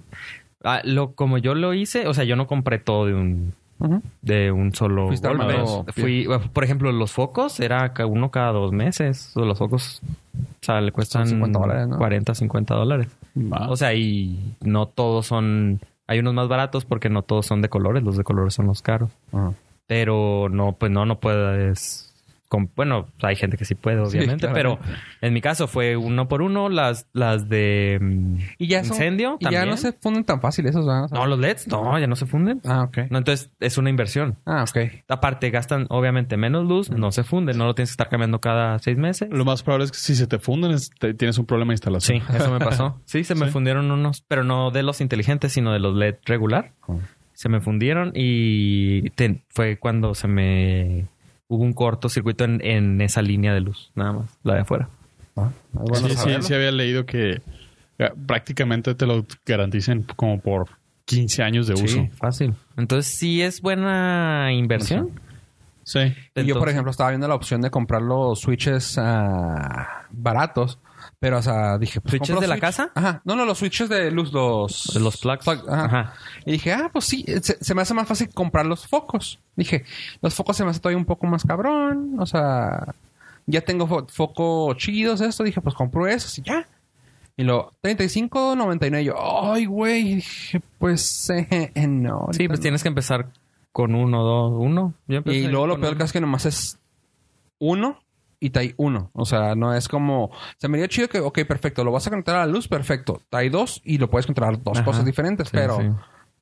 S4: ah, lo, como yo lo hice, o sea, yo no compré todo de un,
S2: Ujú.
S4: de un solo
S2: Fuiste
S4: golpe.
S2: armando-
S4: Fui, bueno, por ejemplo, los focos era ca- uno cada dos meses. O los focos, o sea, le cuestan
S2: 50 dólares, ¿no?
S4: 40, 50 dólares.
S3: Va.
S4: O sea, y no todos son. Hay unos más baratos porque no todos son de colores. Los de colores son los caros.
S2: Ajá.
S4: Pero no, pues no, no puedes. com- bueno, hay gente que sí puede, obviamente, pero
S2: claramente.
S4: en mi caso fue uno por uno. Las, las de. mm,
S2: Y ya son-
S4: ¿Incendio?
S2: Y ya
S4: ¿También?
S2: no se funden tan fácil esos, ¿verdad? O sea,
S4: No, los LEDs, no, ya no se funden.
S2: Ah, ok.
S4: No, entonces es una inversión.
S2: Ah, ok.
S4: Aparte, gastan obviamente menos luz, no se funden, no lo tienes que estar cambiando cada seis meses.
S3: Lo más probable es que si se te funden es- te- tienes un problema de instalación.
S4: Sí, eso me pasó. Sí, se me
S3: Sí.
S4: fundieron unos, pero no de los inteligentes, sino de los LED regular.
S2: Oh.
S4: Se me fundieron y te- fue cuando se me hubo un cortocircuito en, en esa línea de luz, nada más, la de afuera.
S2: Ah, bueno,
S3: sí, sí,
S2: saberlo.
S3: sí había leído que eh, prácticamente te lo garantizan como por 15 años de uso.
S4: fácil. Entonces sí es buena inversión.
S3: Sí.
S2: Y yo, por
S4: Entonces-
S2: ejemplo, estaba viendo la opción de comprar los switches ah, baratos. Pero, o sea, dije... pues,
S4: ¿Switches
S2: compro
S4: de la
S2: switch-
S4: casa?
S2: Ajá. No, no, los switches de luz, los...
S4: Los plugs.
S2: ajá.
S4: Ajá.
S2: Y dije, ah, pues sí, se, se me hace más fácil comprar los focos. Dije, los focos se me hace todavía un poco más cabrón. O sea, ya tengo fo- focos chidos, esto. Dije, pues compro esos y ya. Y lo 35.99 yo, ay, güey, dije, pues eh, no.
S4: Sí,
S2: ahorita
S4: pues
S2: no".
S4: tienes que empezar con uno, dos, uno. Yo empecé
S2: Y luego lo
S4: con
S2: peor que
S4: uno.
S2: es que nomás es uno y trae uno. O sea, no es como. Se me dio chido que, ok, perfecto, lo vas a conectar a la luz, perfecto. Trae dos y lo puedes controlar dos
S4: Ajá.
S2: cosas diferentes,
S4: Sí,
S2: pero.
S4: sí.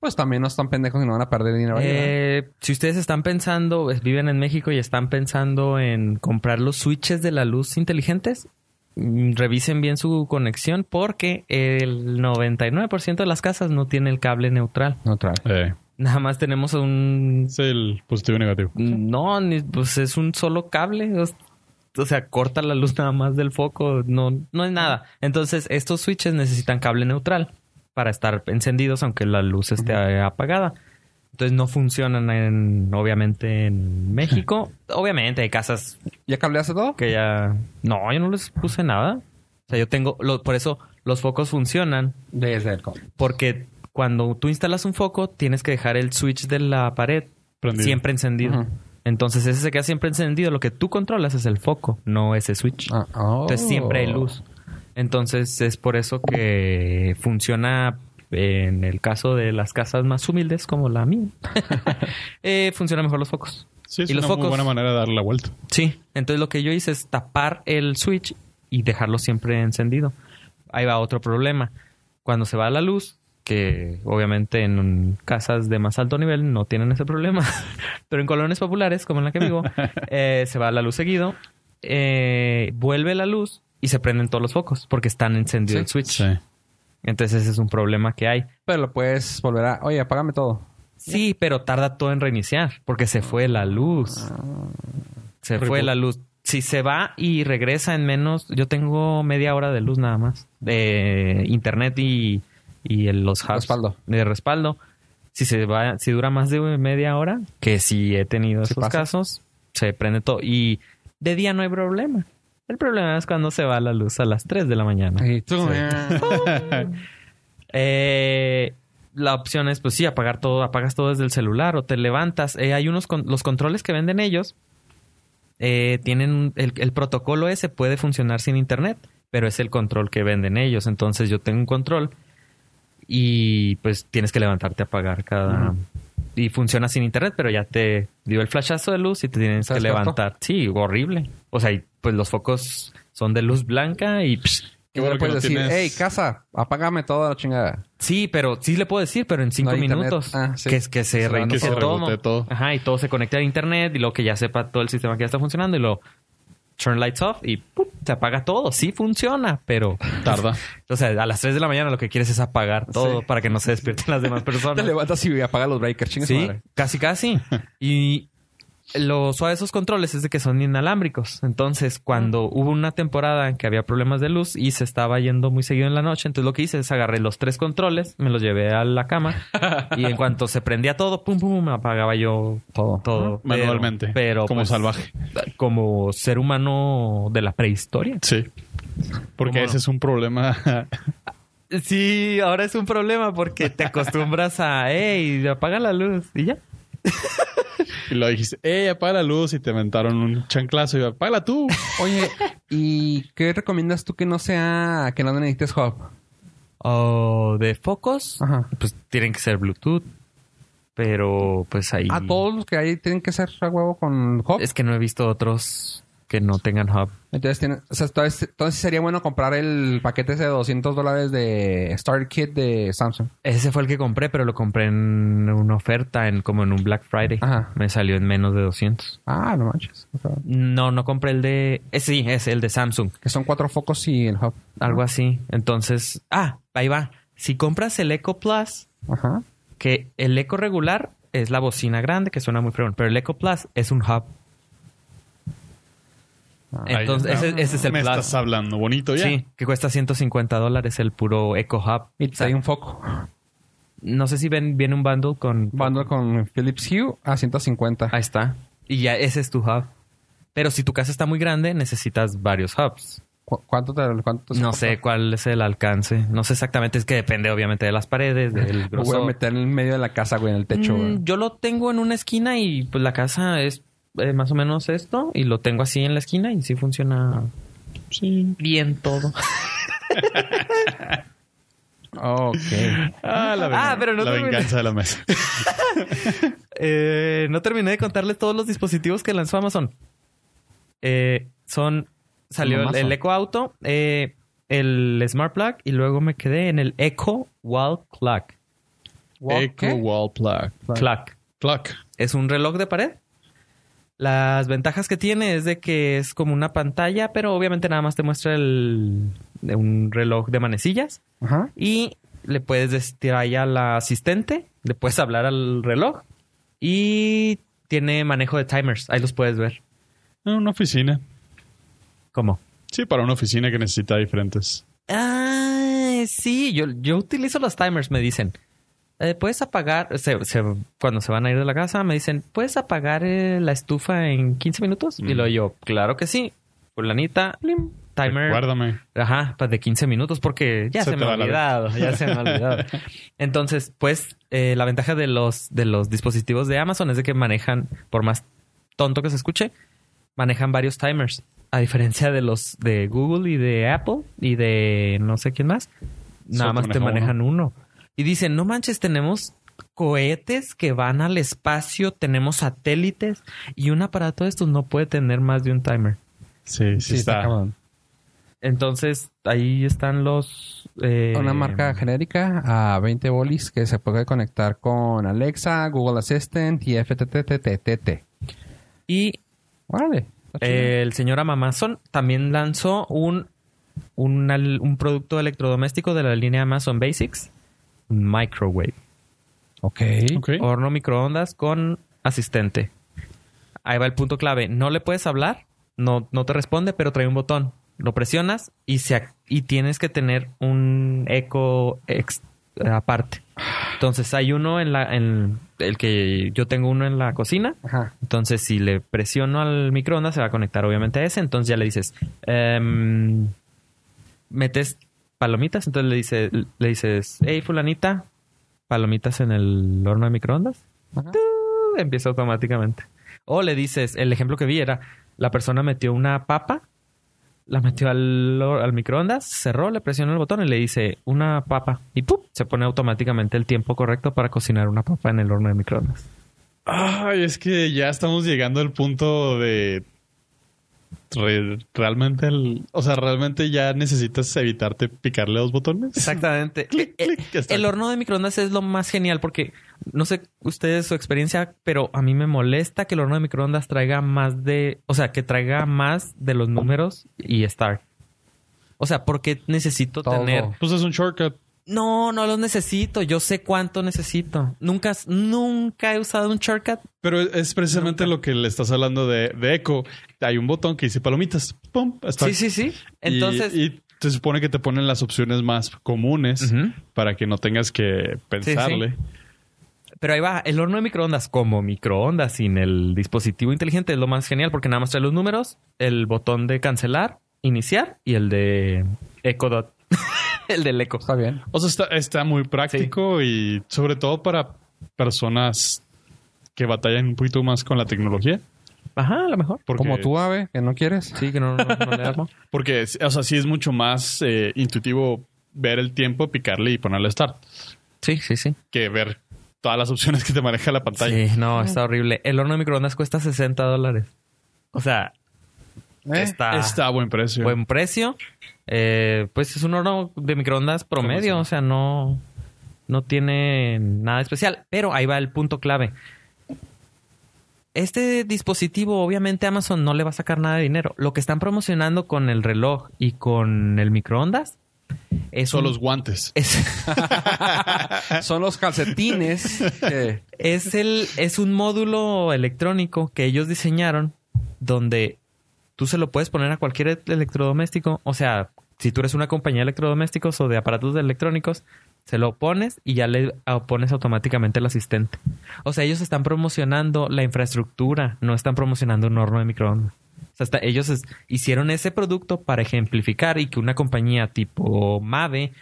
S2: Pues también no están pendejos y no van a perder dinero. ahí, ¿verdad?
S4: Eh, si ustedes están pensando, pues, viven en México y están pensando en comprar los switches de la luz inteligentes, mm, revisen bien su conexión porque el 99% de las casas no tiene el cable neutral.
S2: No trae.
S3: Eh,
S4: Nada más tenemos un...
S3: es el positivo y negativo.
S4: No, ni- pues es un solo cable. es- O sea, corta la luz nada más del foco. No, no es nada. Entonces, estos switches necesitan cable neutral para estar encendidos aunque la luz esté apagada. Entonces no funcionan en, obviamente en México. obviamente hay casas
S2: ¿Ya cableaste todo?
S4: que ya... No, yo no les puse nada. O sea, yo tengo... lo- por eso los focos funcionan
S2: Desde el com.
S4: porque cuando tú instalas un foco tienes que dejar el switch de la pared
S3: Prendido.
S4: siempre encendido.
S2: Ajá.
S4: Entonces ese se queda siempre encendido. Lo que tú controlas es el foco, no ese switch.
S2: Ah, oh.
S4: Entonces siempre hay luz. Entonces es por eso que funciona eh, en el caso de las casas más humildes como la mía. Eh, funciona mejor los focos.
S3: Sí, es
S4: ¿Y los
S3: una
S4: focos?
S3: muy buena manera de dar la vuelta.
S4: Sí, entonces lo que yo hice es tapar el switch y dejarlo siempre encendido. Ahí va otro problema. Cuando se va la luz, que obviamente en casas de más alto nivel no tienen ese problema, pero en colonias populares, como en la que vivo, eh, se va la luz seguido, eh, vuelve la luz y se prenden todos los focos porque están encendidos
S2: Sí,
S4: el switch.
S3: Sí.
S4: Entonces ese es un problema que hay.
S2: Pero lo puedes volver a. Oye, apágame todo.
S4: Sí, pero tarda todo en reiniciar porque se fue la luz.
S2: Ah.
S4: Se fue
S3: Reboot.
S4: la luz. Si se va y regresa en menos, yo tengo media hora de luz nada más de internet y, y el- los hubs
S2: Respaldo.
S4: de respaldo. Si se va, si dura más de media hora, que si he tenido
S2: Sí
S4: esos
S2: pasa.
S4: casos, se prende todo y de día no hay problema. El problema es cuando se va la luz a las 3 de la mañana.
S2: Y tú,
S4: Eh, la opción es, pues sí, apagar todo, apagas todo desde el celular o te levantas. Eh, hay unos, con- los controles que venden ellos, eh, tienen un- el, el protocolo ese puede funcionar sin internet, pero es el control que venden ellos. Entonces yo tengo un control y pues tienes que levantarte a apagar cada... Y funciona sin internet, pero ya te dio el flashazo de luz y te tienes
S2: ¿Te
S4: que
S2: despertó?
S4: levantar. Sí, horrible. O sea, y, pues los focos son de luz blanca y... psh,
S2: Y
S3: Qué
S2: no
S3: bueno
S2: le
S3: que
S2: puedes
S3: no
S2: decir,
S3: tienes-
S2: hey, casa, apágame toda la chingada.
S4: Sí, pero sí le puedo decir, pero en cinco
S2: No hay internet.
S4: minutos.
S2: Ah, sí.
S4: Que, que se
S3: Que
S4: reinicie
S3: se
S4: todo.
S3: rebote todo.
S4: Ajá, y todo se conecte a internet y luego que ya sepa todo el sistema que ya está funcionando y lo turn lights off y ¡pup! se apaga todo. Sí funciona, pero...
S3: Tarda.
S4: O sea, a las 3 de la mañana lo que quieres es apagar todo
S2: Sí.
S4: para que no se despierten las demás
S2: Te
S4: personas.
S2: levantas y apagas los breakers, chingas
S4: Sí,
S2: madre.
S4: casi casi. Y lo suave de esos controles es de que son inalámbricos. Entonces, cuando hubo una temporada en que había problemas de luz y se estaba yendo muy seguido en la noche, entonces lo que hice es agarré los tres controles, me los llevé a la cama y en cuanto se prendía todo, pum, pum, me apagaba yo todo. todo. Pero-
S3: Manualmente.
S4: Pero,
S3: como
S4: pues,
S3: salvaje.
S4: Como ser humano de la prehistoria.
S3: Sí. Porque
S4: ¿Cómo
S3: ese
S4: no?
S3: es un problema.
S4: Sí, ahora es un problema porque te acostumbras a, hey, apaga la luz y ya.
S3: y lo dijiste, ¡eh, apaga la luz! Y te inventaron un chanclazo y yo, apágala tú.
S2: Oye, ¿y qué recomiendas tú que no sea, que no necesites hub?
S4: o de focos,
S2: Ajá.
S4: pues tienen que ser Bluetooth. Pero pues ahí.
S2: A Ah, todos los que hay tienen que ser a huevo con hub.
S4: Es que no he visto otros que no tengan hub.
S2: Entonces, tiene, o sea, entonces, entonces sería bueno comprar el paquete ese de 200 dólares de Starter Kit de Samsung.
S4: Ese fue el que compré, pero lo compré en una oferta, en como en un Black Friday.
S2: Ajá.
S4: Me salió en menos de 200.
S2: Ah, no manches. O sea,
S4: No, no compré el de. eh, sí, es el de Samsung.
S2: que son cuatro focos y el hub.
S4: Algo así. Entonces. Ah, ahí va. Si compras el Eco Plus,
S2: Ajá.
S4: que el Eco regular es la bocina grande que suena muy fregón, pero el Eco Plus es un hub. Entonces,
S3: Ah, Ahí está.
S4: ese, ese es el
S3: Me
S4: Plus.
S3: estás hablando bonito Pues ya.
S4: Sí, que cuesta 150 dólares el puro Eco Hub.
S2: Y
S4: O sea,
S2: trae un foco.
S4: No sé si ven, viene un bundle con...
S2: Bundle con Philips Hue a 150.
S4: Ahí está. Y ya ese es tu hub. Pero si tu casa está muy grande, necesitas varios hubs.
S2: ¿Cu- ¿Cuánto te cuánto te
S4: No
S2: costó?
S4: sé cuál es el alcance. No sé exactamente. Es que depende obviamente de las paredes, del
S2: Lo voy a
S4: grosor.
S2: meter en el medio de la casa, güey, en el techo,
S4: Mm,
S2: güey.
S4: yo lo tengo en una esquina y pues la casa es eh, más o menos esto. Y lo tengo así en la esquina y sí funciona
S3: Sí.
S4: bien todo.
S2: Ok.
S3: Ah, la, vengan-
S4: Ah, pero no
S3: la
S4: te-
S3: venganza de la mesa.
S4: Eh, no terminé de contarles todos los dispositivos que lanzó Amazon. Eh, son. Salió el,
S2: Amazon.
S4: el Echo Auto, eh, el Smart Plug y luego me quedé en el Echo Wall Clock.
S2: Wow,
S3: Echo
S2: ¿qué?
S3: Wall Plug.
S4: Clock.
S3: Clock.
S4: Es un reloj de pared. Las ventajas que tiene es de que es como una pantalla, pero obviamente nada más te muestra el, de un reloj de manecillas.
S2: Ajá.
S4: Y le puedes decir ahí a la asistente, le puedes hablar al reloj y tiene manejo de timers. Ahí los puedes ver.
S3: Ah, Una oficina.
S4: ¿Cómo?
S3: Sí, para una oficina que necesita diferentes.
S4: Ah, sí, yo, yo utilizo los timers, me dicen. Eh, puedes apagar, se- se- cuando se van a ir de la casa, me dicen, ¿puedes apagar eh, la estufa en 15 minutos? Y
S3: Mm.
S4: lo yo, claro que sí. Fulanita, plim, timer.
S3: Recuérdame.
S4: Ajá, pues de 15 minutos porque ya
S3: Se
S4: se,
S3: te
S4: me ha
S3: va la
S4: olvidado, ya se me ha olvidado. Entonces, pues eh, la ventaja de los de los dispositivos de Amazon es de que manejan, por más tonto que se escuche, manejan varios timers, a diferencia de los de Google y de Apple y de no sé quién más. Nada
S3: Solo
S4: más te
S3: maneja
S4: manejan uno. Y dicen, "No manches, tenemos cohetes que van al espacio, tenemos satélites y un aparato de estos no puede tener más de un timer."
S3: Sí, sí, está.
S2: cabrón.
S4: Entonces, ahí están los... eh,
S2: Una marca genérica a 20 bolis que se puede conectar con Alexa, Google Assistant y FTTTTT.
S4: Y
S2: Órale. está chido.
S4: eh, el señor Amazon también lanzó un, un, al- un producto electrodoméstico de la línea Amazon Basics, un microwave,
S2: ok.
S3: Ok.
S4: horno microondas con asistente. Ahí va el punto clave. No le puedes hablar, no, no te responde, pero trae un botón. Lo presionas y, se, ac- y tienes que tener un eco ex- aparte. Entonces hay uno en la... En, el que yo tengo uno en la cocina
S2: Ajá.
S4: Entonces, si le presiono al microondas, se va a conectar obviamente a ese. Entonces ya le dices, em, metes palomitas. Entonces le, dice, le dices, hey, fulanita, palomitas en el horno de microondas.
S2: Ajá.
S4: ¡Tú! Empieza automáticamente. O le dices, el ejemplo que vi era, la persona metió una papa, la metió al, hor- al microondas, cerró, le presionó el botón y le dice, una papa. Y ¡pum! Se pone automáticamente el tiempo correcto para cocinar una papa en el horno de microondas.
S3: Ay, es que ya estamos llegando al punto de re- realmente, el- o sea, realmente ya necesitas evitarte picarle dos botones.
S4: Exactamente.
S3: Clic,
S4: Eh,
S3: clic, que está.
S4: el horno de microondas es lo más genial porque no sé ustedes su experiencia, pero a mí me molesta que el horno de microondas traiga más de, o sea, que traiga más de los números y Star. O sea, porque necesito
S2: Todo.
S4: tener
S3: Pues es un shortcut.
S4: No, no los necesito. Yo sé cuánto necesito. Nunca, nunca he usado un shortcut.
S3: Pero es- es precisamente lo que le estás hablando de, de Echo. Hay un botón que dice palomitas. Pum, hasta-
S4: Sí, sí, sí.
S3: Y-
S4: Entonces,
S3: Y, se supone que te ponen las opciones más comunes
S4: Ujú.
S3: para que no tengas que pensarle.
S4: pero ahí va. El horno de microondas como microondas sin el dispositivo inteligente es lo más genial porque nada más trae los números, el botón de cancelar, iniciar y el de Echo Dot. el del Echo.
S2: Está bien.
S3: O sea, está, está muy práctico y sobre todo para personas que batallan un poquito más con la tecnología.
S4: Ajá, a lo mejor.
S3: Porque,
S2: Como tú, Ave, que no quieres.
S4: Sí, que no, no- no le armo.
S3: Porque, o sea, sí es mucho más eh, intuitivo ver el tiempo, picarle y ponerle start
S4: Sí, sí, sí.
S3: que ver todas las opciones que te maneja la pantalla.
S4: Sí, no, está horrible. El horno de microondas cuesta 60 dólares. O sea,
S2: ¿Eh?
S4: está...
S3: Está a buen precio.
S4: buen precio. Eh, pues es un horno de microondas promedio, o sea, no, no tiene nada especial. Pero ahí va el punto clave. Este dispositivo, obviamente, Amazon no le va a sacar nada de dinero. Lo que están promocionando con el reloj y con el microondas es
S3: Son
S4: un-
S3: los guantes.
S4: es-
S3: Ah.
S2: Son los calcetines que
S4: es el es un módulo electrónico que ellos diseñaron donde tú se lo puedes poner a cualquier e- electrodoméstico, o sea, si tú eres una compañía de electrodomésticos o de aparatos electrónicos, se lo pones y ya le a- pones automáticamente el asistente. O sea, ellos están promocionando la infraestructura, no están promocionando un horno de microondas. O sea, está- ellos es- hicieron ese producto para ejemplificar y que una compañía tipo Mave,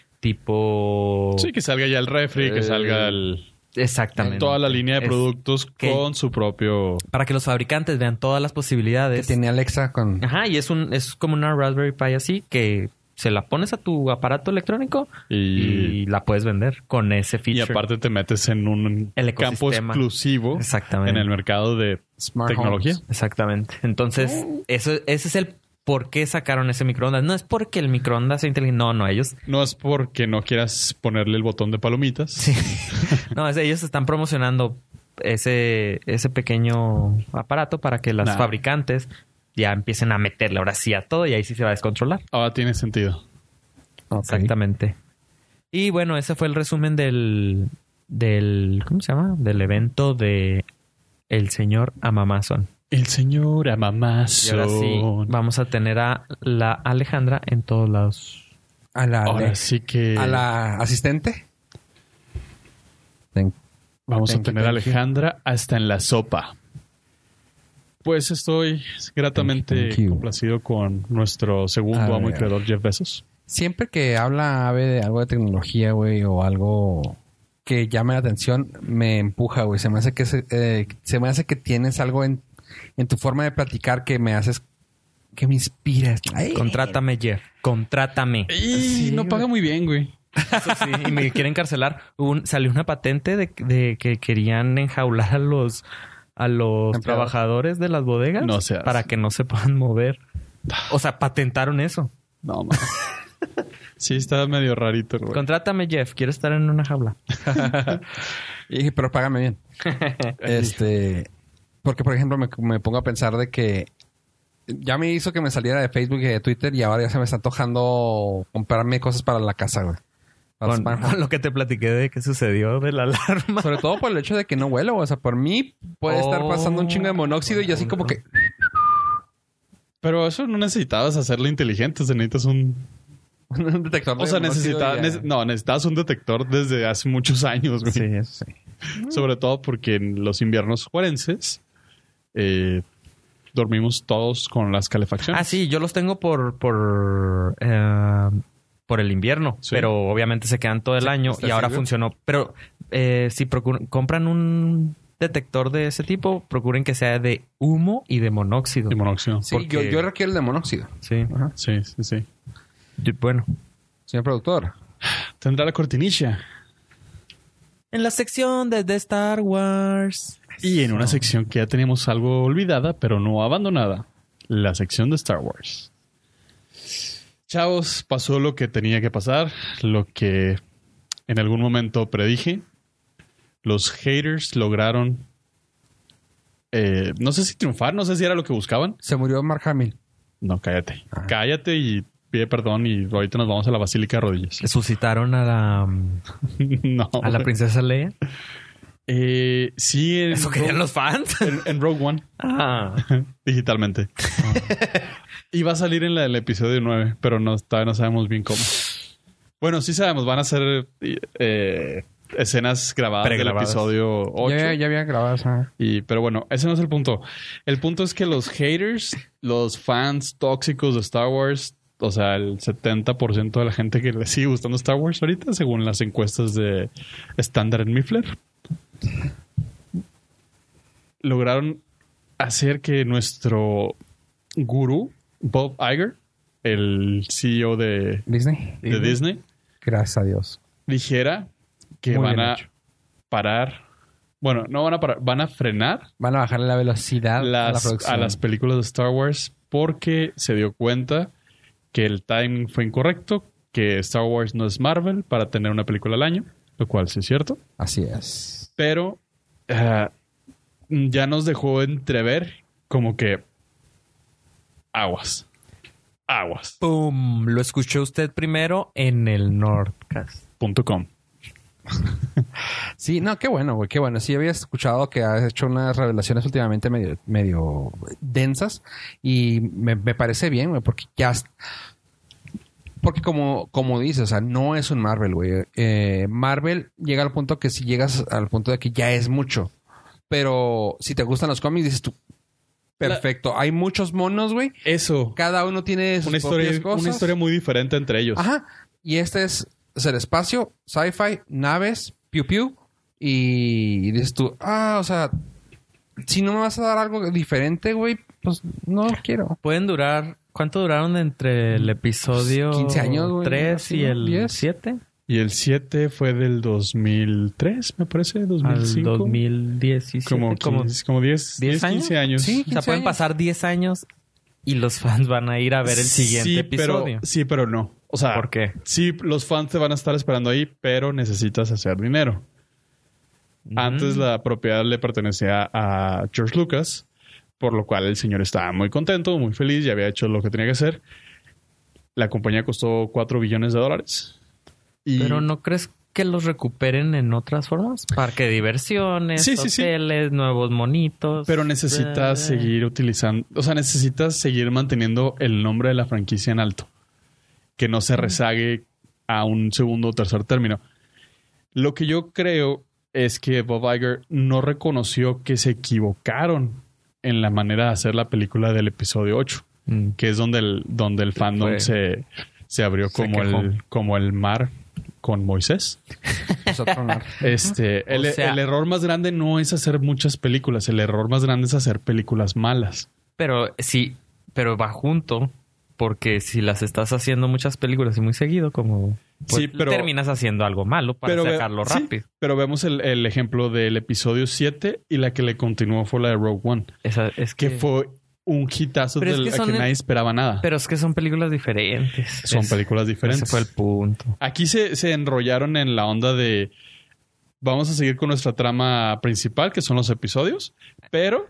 S4: tipo
S3: Sí, que salga ya el refri, que
S2: Eh,
S3: salga el,
S4: exactamente
S3: toda la línea de
S4: Es-
S3: productos
S4: que-
S3: con su propio.
S4: para que los fabricantes vean todas las
S2: que
S4: posibilidades.
S2: tiene Alexa con...
S4: Ajá, y es un es como una Raspberry Pi así que se la pones a tu aparato electrónico y,
S3: Y,
S4: la puedes vender con ese
S3: y
S4: feature.
S3: aparte te metes en un
S4: El
S3: campo
S4: ecosistema.
S3: exclusivo en
S4: exactamente.
S3: el mercado de
S2: Smart
S3: tecnología.
S2: homes.
S4: Exactamente. Entonces, eso ese es el por qué sacaron ese microondas. No es porque el microondas sea inteligente, no, no, ellos
S3: No es porque no quieras ponerle el botón de palomitas.
S4: sí. no, es- ellos están promocionando ese ese pequeño aparato para que las
S3: Nah.
S4: fabricantes ya empiecen a meterle ahora sí a todo y ahí sí se va a descontrolar.
S3: Ahora tiene sentido.
S2: Ok.
S4: Exactamente. Y bueno, ese fue el resumen del, del ¿cómo se llama? Del evento de el señor Amamazon.
S3: El señor
S4: Y
S3: Amamazon.
S4: ahora sí vamos a tener a la Alejandra en todos lados.
S2: A la,
S3: Ahora sí que
S2: a la asistente. Ten-
S3: vamos a
S2: Thank you,
S3: tener a
S2: thank you.
S3: Alejandra hasta en la sopa. Pues estoy gratamente
S2: thank you.
S3: complacido con nuestro
S2: A
S3: segundo
S2: ver.
S3: amo y creador Jeff Bezos.
S2: Siempre que habla Ave de algo de tecnología, güey, o algo que llame la atención, me empuja, güey. Se me hace que se, eh, se me hace que tienes algo en, en tu forma de platicar que me haces que me inspiras. Ay.
S4: Contrátame, Jeff. Contrátame.
S3: Y no paga muy bien, güey.
S4: Eso sí, y me quieren encarcelar. Hubo un- salió una patente de, de que querían enjaular a los a los
S2: Empleados.
S4: trabajadores de las bodegas
S3: No seas.
S4: para que no se puedan mover. O sea, patentaron eso.
S3: No, man. sí, está medio rarito, güey.
S4: Contrátame, Jeff. Quiero estar en una jaula.
S2: Y- pero págame bien. este, porque por ejemplo me, me pongo a pensar de que ya me hizo que me saliera de Facebook y de Twitter y ahora ya se me está antojando comprarme cosas para la casa, güey. Para
S4: con,
S2: Smart Home.
S4: con lo que te platiqué de que sucedió de la alarma.
S2: Sobre todo por el hecho de que no huelo. O sea, por mí puede estar
S4: Oh,
S2: pasando un chingo de monóxido y yo así como que...
S3: Pero eso no necesitabas hacerlo inteligente, o sea, necesitas un...
S2: un detector de
S3: O
S2: monóxido
S3: sea, necesita-
S2: y ya.
S3: nece- no, necesitabas un detector desde hace muchos años, güey.
S2: Sí, eso sí.
S3: Sobre todo porque en los inviernos juarenses eh, dormimos todos con las calefacciones.
S4: Ah, sí, yo los tengo por por eh, por el invierno,
S3: Sí.
S4: pero obviamente se quedan todo el
S2: Sí,
S4: año
S2: está
S4: y ahora
S2: seguro.
S4: funcionó. Pero eh, si procur- compran un detector de ese tipo, procuren que sea de humo y de monóxido.
S3: Y monóxido.
S2: Sí,
S4: Porque-
S2: yo, yo requiero el de monóxido,
S4: Sí,
S3: Sí, sí, sí.
S4: Y bueno.
S2: señor productor.
S3: Tendrá la cortinilla.
S4: En la sección de, de Star Wars.
S3: Y en una sección que ya teníamos algo olvidada, pero no abandonada. la sección de Star Wars. Chavos, pasó lo que tenía que pasar, lo que en algún momento predije. Los haters lograron, eh, no sé si triunfar, no sé si era lo que buscaban.
S2: Se murió Mark Hamill.
S3: No, cállate. Cállate y pide perdón y ahorita nos vamos a la Basílica de Rodillas.
S4: Resucitaron a la,
S3: no.
S4: a la princesa Leia.
S3: Eh, sí, en,
S4: ¿Eso querían los fans?
S3: en- en Rogue One.
S4: Ah.
S3: Digitalmente. y va a salir en la del episodio 9, pero no, todavía no sabemos bien cómo. Bueno, sí sabemos, van a ser eh, escenas grabadas del
S4: Pregrabadas.
S3: episodio 8.
S2: Ya, ya había grabado esa.
S3: Y, pero bueno, ese no es el punto. El punto es que los haters, los fans tóxicos de Star Wars, o sea, el 70% de la gente que le sigue gustando Star Wars ahorita, según las encuestas de Standard Miffler, lograron hacer que nuestro gurú, Bob Iger, el CEO de,
S2: Disney.
S3: de Disney,
S2: Gracias a Dios.
S3: dijera que
S2: Muy
S3: van
S2: bien
S3: a
S2: hecho.
S3: parar. Bueno, no van a parar, van a frenar
S2: Van a bajar la velocidad a la
S3: las,
S2: producción.
S3: a las películas de Star Wars porque se dio cuenta que el timing fue incorrecto, que Star Wars no es Marvel para tener una película al año, lo cual sí es cierto,
S2: Así es.
S3: pero ah, ya nos dejó entrever como que aguas, aguas.com.
S4: Pum. Lo escuchó usted primero en el Nordcast.
S2: Sí, no, qué bueno, güey, qué bueno. Sí, había escuchado que has hecho unas revelaciones últimamente medio, medio densas y me, me parece bien, güey, porque ya... es- Porque como, como dices, o sea, no es un Marvel, güey. Eh, Marvel llega al punto que si llegas al punto de que ya es mucho. Pero si te gustan los cómics, dices tú, perfecto. Hay muchos monos, güey.
S3: Eso,
S2: Cada uno tiene sus
S3: una historia,
S2: propias cosas.
S3: una historia muy diferente entre ellos.
S2: Ajá. Y este es, es el espacio, sci-fi, naves, piu piu. Y dices tú, ah, o sea, si no me vas a dar algo diferente, güey, pues no quiero.
S4: Pueden durar. ¿Cuánto duraron entre
S3: Pues,
S4: el episodio
S2: 15 años, güey,
S4: 3 y
S2: ¿no?
S4: el
S2: 10.
S4: 7?
S3: Y el 7 fue del 2003, me parece, 2005.
S4: Al 2017.
S3: Como,
S4: como-
S3: 15, como 10,
S4: 10 años.
S3: 15 años.
S2: Sí,
S4: o sea,
S2: 15
S4: pueden
S2: años.
S4: pasar 10 años y los fans van a ir a ver el siguiente
S3: sí,
S4: episodio.
S3: Pero, sí, pero no. O sea,
S4: ¿Por qué?
S3: sí, los fans te van a estar esperando ahí, pero necesitas hacer dinero. Antes
S4: Mm.
S3: la propiedad le pertenecía a George Lucas, por lo cual el señor estaba muy contento, muy feliz, ya había hecho lo que tenía que hacer. La compañía costó 4 billones de dólares. Y
S4: Pero no crees que los recuperen en otras formas? Parque de diversiones,
S3: Sí, sí, sí.
S4: hoteles, nuevos monitos.
S3: Pero necesitas
S4: Eh,
S3: seguir utilizando, o sea, necesitas seguir manteniendo el nombre de la franquicia en alto, que no se rezague a un segundo o tercer término. Lo que yo creo es que Bob Iger no reconoció que se equivocaron en la manera de hacer la película del episodio 8,
S4: Mm.
S3: que es donde el, donde el fandom
S4: Fue-
S3: se, se abrió
S4: se
S3: como
S4: quejó.
S3: el, como el mar con Moisés.
S2: Pues, otro no.
S3: Este, el,
S4: O sea-
S3: el error más grande no es hacer muchas películas, el error más grande es hacer películas malas.
S4: Pero sí, pero va junto. Porque si las estás haciendo muchas películas y muy seguido, como pues,
S3: Sí, pero-
S4: terminas haciendo algo malo para
S3: ve-
S4: sacarlo
S3: sí,
S4: rápido.
S3: pero vemos el, el ejemplo del episodio 7 y la que le continuó fue la de Rogue One,
S4: Esa- es
S3: que
S4: que
S3: fue un hitazo
S4: Pero es
S3: del-
S4: que
S3: a
S4: son
S3: que
S4: el-
S3: nadie esperaba nada.
S4: Pero es que son películas diferentes.
S3: Son
S4: Es-
S3: películas diferentes.
S4: Ese fue el punto.
S3: Aquí se, se enrollaron en la onda de vamos a seguir con nuestra trama principal, que son los episodios, pero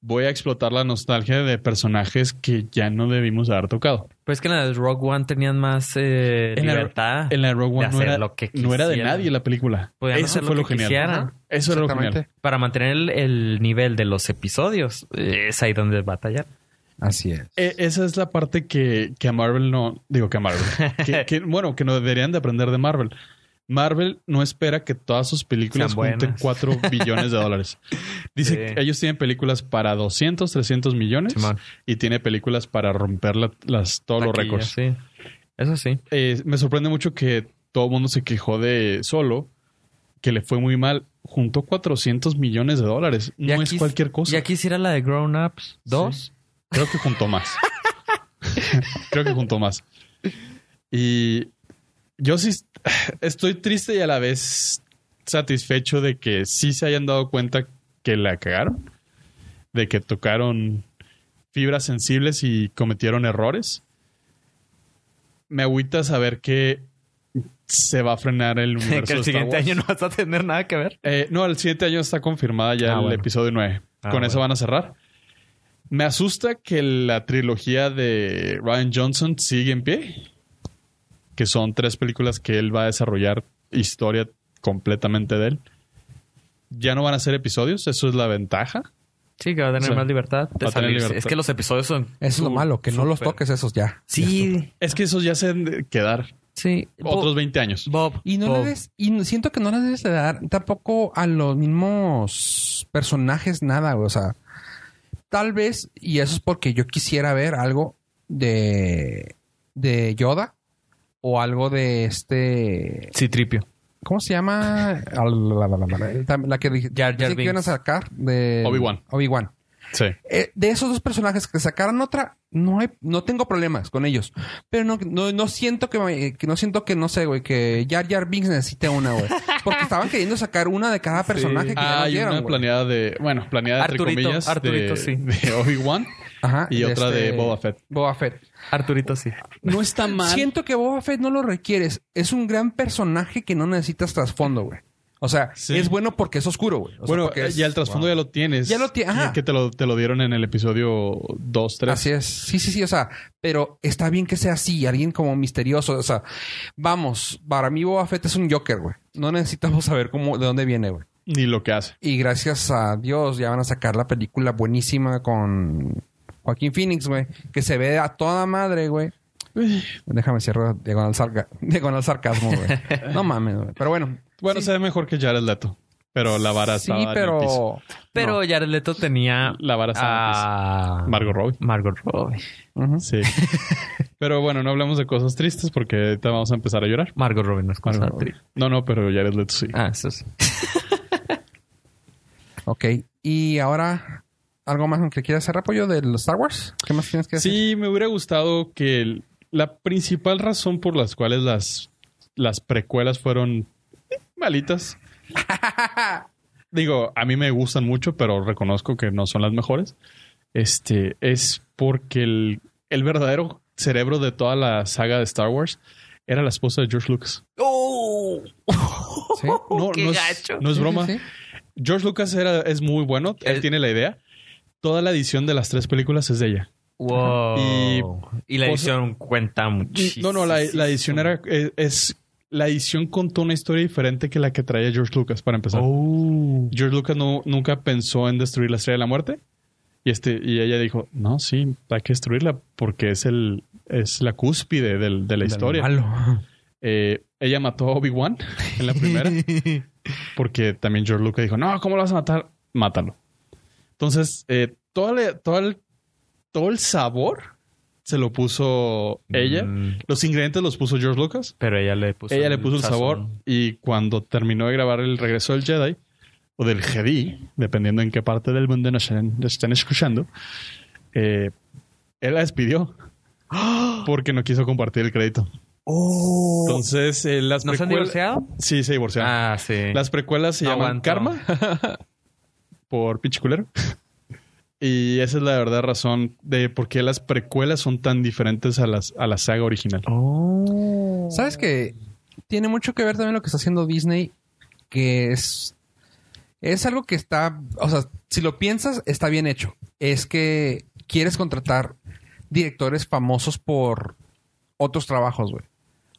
S3: voy a explotar la nostalgia de personajes que ya no debimos haber tocado.
S4: Pero es que en la de Rogue One tenían más eh,
S3: En la-
S4: libertad.
S3: En la Rogue One
S4: de
S3: no
S4: hacer
S3: era,
S4: lo que
S3: no era de
S4: quisieran.
S3: nadie la película.
S4: Podían
S3: Eso
S4: hacer
S3: fue
S4: lo
S3: lo
S4: que
S3: genial.
S4: quisieran.
S3: Ajá. Eso era lo
S2: Exactamente.
S3: genial.
S4: Para mantener el, el nivel de los episodios, eh, es ahí donde batallar.
S2: Así es.
S3: E- esa es la parte que, que a Marvel no... Digo que a Marvel. que, que, bueno, que no deberían de aprender de Marvel. Marvel no espera que todas sus películas
S4: Sean
S3: junten
S4: buenas.
S3: 4 billones de dólares. Dice
S4: Sí.
S3: que ellos tienen películas para 200, 300 millones
S4: Simón.
S3: y tiene películas para romper la- las, todos los
S4: Taquilla,
S3: récords.
S4: Sí. Eso sí.
S3: Eh, me sorprende mucho que todo el mundo se quejó de Solo, que le fue muy mal. Juntó 400 millones de dólares.
S4: Ya
S3: No es
S4: quis-
S3: cualquier cosa.
S4: Ya quisiera la de Grown Ups 2.
S3: Creo que juntó más. Creo que juntó más. Y yo sí est- estoy triste y a la vez satisfecho de que sí se hayan dado cuenta que la cagaron, de que tocaron fibras sensibles y cometieron errores. Me agüita saber que se va a frenar el universo.
S4: que
S3: de
S4: el
S3: Star
S4: siguiente
S3: Wars.
S4: año no vas a tener nada que ver.
S3: Eh, no, el siguiente año está confirmada ya
S4: Ah,
S3: el
S4: bueno.
S3: episodio 9.
S4: Ah,
S3: Con eso
S4: bueno.
S3: van a cerrar. Me asusta que la trilogía de Ryan Johnson sigue en pie. Que son tres películas que él va a desarrollar historia completamente de él. Ya no van a ser episodios, eso es la ventaja.
S4: Sí, que va a tener
S3: Sí.
S4: más libertad de
S3: Va a tener
S4: salirse.
S3: libertad.
S4: Es que los episodios son.
S2: Eso es lo
S4: su-
S2: malo, que no los
S4: súper-
S2: toques esos ya.
S4: Sí,
S3: Es que esos ya se han de quedar
S4: sí.
S3: otros 20 años.
S4: Bob.
S2: Y no
S4: Bob.
S2: le des, y no- siento que no le debes de dar tampoco a los mismos personajes nada, güey. O sea, tal vez, y eso es porque yo quisiera ver algo de, de Yoda o algo de este.
S4: Sí, tripio.
S2: ¿Cómo se llama? La, la, la, la, la- la- la que dije
S4: Jar Jar
S2: pensé que iban a
S4: Binks.
S2: sacar de
S3: Obi-Wan.
S2: Obi-Wan.
S3: Sí.
S2: Eh, de esos dos personajes que sacaran otra, no hay, no tengo problemas con ellos. Pero no, no, no siento que, me- que no siento que no sé, güey, que Jar Jar Binks necesite una, güey. Porque estaban queriendo sacar una de cada personaje que ya no
S3: Hay
S2: dieron,
S3: Ah, una
S2: güey.
S3: planeada de, bueno, planeada entre
S4: Arturito,
S3: comillas de-
S4: Arturito, sí.
S3: de Obi-Wan
S2: Ajá,
S3: y otra de
S2: este-
S3: Boba Fett.
S2: Boba Fett.
S4: Arturito, sí.
S3: No está mal.
S2: Siento que Boba Fett no lo requieres. Es un gran personaje que no necesitas trasfondo, güey. O sea,
S3: Sí.
S2: es bueno porque es oscuro, güey. O sea,
S3: bueno,
S2: porque es-
S3: ya el trasfondo ya lo tienes.
S2: Ya lo ti- ajá.
S3: Y Que te lo, te lo dieron en el episodio 2, 3.
S2: Así es. Sí, sí, sí. O sea, pero está bien que sea así, alguien como misterioso. O sea, vamos, para mí Boba Fett es un Joker, güey. No necesitamos saber cómo, de dónde viene, güey.
S3: Ni lo que hace.
S2: Y gracias a Dios ya van a sacar la película buenísima con Joaquín Phoenix, güey. Que se ve a toda madre, güey. Déjame cierro diagonal, sarca- diagonal sarcasmo, güey. No mames, güey. Pero bueno.
S3: Bueno,
S2: sí,
S3: se ve mejor que Jared Leto. Pero la vara
S2: sí,
S3: estaba en el piso.
S2: pero...
S4: Pero Jared Leto tenía
S3: La vara
S2: Ah.
S3: estaba
S4: a
S3: Margot Robbie.
S4: Margot Robbie.
S2: Ujú.
S3: Sí. pero bueno, no hablemos de cosas tristes porque ahorita vamos a empezar a llorar.
S4: Margot Robbie no es cosa
S3: Margot Robbie.
S4: tri-
S3: No, no, pero Jared Leto sí.
S4: Ah, eso sí.
S2: Ok. Y ahora... ¿Algo más que quieras hacer apoyo de los Star Wars? ¿Qué más tienes que decir?
S3: Sí, me hubiera gustado que el- la principal razón por las cuales las, las precuelas fueron malitas. Digo, a mí me gustan mucho, pero reconozco que no son las mejores. Este es porque el, el verdadero cerebro de toda la saga de Star Wars era la esposa de George Lucas.
S4: ¡Oh!
S2: Sí.
S3: No,
S4: ¡Qué
S3: no
S4: gacho!
S3: Es, no
S2: Uh, Sí,
S3: es
S2: sí,
S3: broma.
S2: sí.
S3: George Lucas era, es muy bueno, él
S4: El-
S3: tiene la idea. Toda la edición de las tres películas es de ella.
S4: Wow.
S3: Y-
S4: Y, la
S3: cosa-
S4: edición cuenta muchísimo.
S3: No, no, la, la edición era. Es, es- la edición contó una historia diferente que la que traía George Lucas, para empezar.
S4: Oh.
S3: George Lucas no, nunca pensó en destruir la estrella de la muerte. Y, este, y ella dijo: No, sí, hay que destruirla porque es, el, es la cúspide del- de la historia.
S2: Malo.
S3: Eh, ella mató a Obi-Wan en la primera. porque también George Lucas dijo, no, ¿cómo lo vas a matar? Mátalo. Entonces, eh, todo, el, todo, el, todo el sabor se lo puso ella.
S4: Mm.
S3: Los ingredientes los puso George Lucas.
S4: Pero ella le puso
S3: Pues ella le puso el
S4: sazón.
S3: sabor. Y cuando terminó de grabar el regreso del Jedi, o del Jedi, dependiendo en qué parte del mundo nos están, nos están escuchando, eh, él la despidió.
S2: ¡Ah!
S3: Porque no quiso compartir el crédito.
S2: Oh.
S3: Entonces, eh, las
S4: ¿No se han
S3: precuel-
S4: divorciado?
S3: Sí, se divorciaron.
S4: Ah, sí.
S3: Las precuelas se
S4: No
S3: llaman
S4: aguanto.
S3: Karma. por pinche culero. y esa es la verdadera razón de por qué las precuelas son tan diferentes a, las, a la saga original.
S4: Oh.
S2: ¿Sabes que Tiene mucho que ver también lo que está haciendo Disney, que es... Es algo que está... O sea, si lo piensas, está bien hecho. Es que quieres contratar directores famosos por otros trabajos, güey.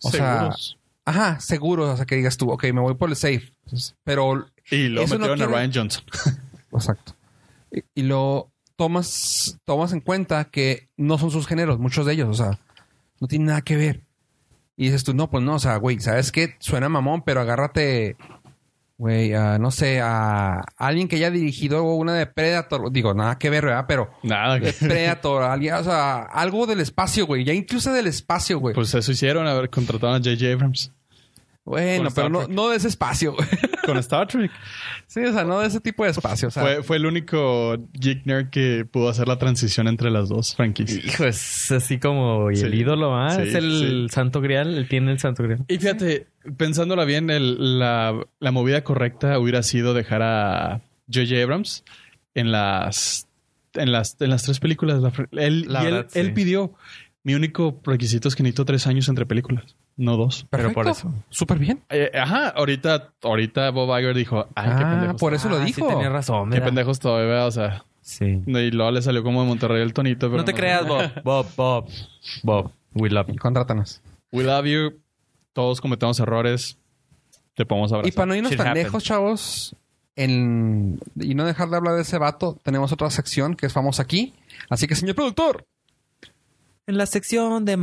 S2: O sea...
S3: Seguros.
S2: Ajá, seguros. O sea, que digas tú, ok, me voy por el safe. Pero
S3: y lo
S2: eso no
S3: metieron a
S2: quiere-
S3: Ryan Johnson.
S2: Exacto. Y, y lo tomas, tomas en cuenta que no son sus géneros, muchos de ellos, o sea, no tienen nada que ver. Y dices tú, no, pues no, o sea, güey, ¿sabes qué? Suena mamón, pero agárrate, güey, a, no sé, a alguien que haya dirigido una de Predator. Digo, nada que ver, ¿verdad? Pero
S3: Nada.
S2: de Predator, alguien, o sea, algo del espacio, güey. Ya incluso del espacio, güey.
S3: Pues eso hicieron, haber contratado a J.J. Abrams
S2: bueno, pero
S3: con pues Star
S2: no,
S3: Trek.
S2: no de ese espacio, güey.
S3: con Star Trek.
S2: Sí, o sea, no de ese tipo de espacio, o sea.
S3: fue, fue el único geek nerd que pudo hacer la transición entre las dos franquicias.
S4: Hijo, es así como y el
S3: Sí.
S4: ídolo, ¿ah?
S3: Sí,
S4: es el santo grial. Él tiene el santo grial.
S3: Y fíjate, pensándola bien, el- la, la movida correcta hubiera sido dejar a J.J. Abrams en las en las, en las tres películas. la fre- él,
S4: La
S3: y él-
S4: verdad, sí.
S3: él pidió, mi único requisito es que necesito tres años entre películas, no dos.
S4: Pero por
S2: Perfecto.
S4: eso.
S2: Súper bien.
S3: Eh, ajá, ahorita, ahorita Bob Iger dijo, ay, qué
S2: Ah,
S3: pendejos.
S2: por eso lo
S4: Ah,
S2: dijo.
S4: Sí, tenía razón.
S3: Qué
S4: ¿verdad?
S3: pendejos todavía, ¿verdad? o sea.
S4: Sí.
S3: Y luego le salió como de Monterrey el tonito. pero
S4: No te creas, Bob. Bob, Bob. Bob, we love you.
S2: Contrátanos.
S3: We love you. Todos cometemos errores. Te podemos abrazar.
S2: Y para no irnos
S4: Shit
S2: tan
S4: happens.
S2: lejos, chavos, en- y no dejar de hablar de ese vato, tenemos otra sección que es famosa aquí. Así que, señor productor,
S4: En la sección de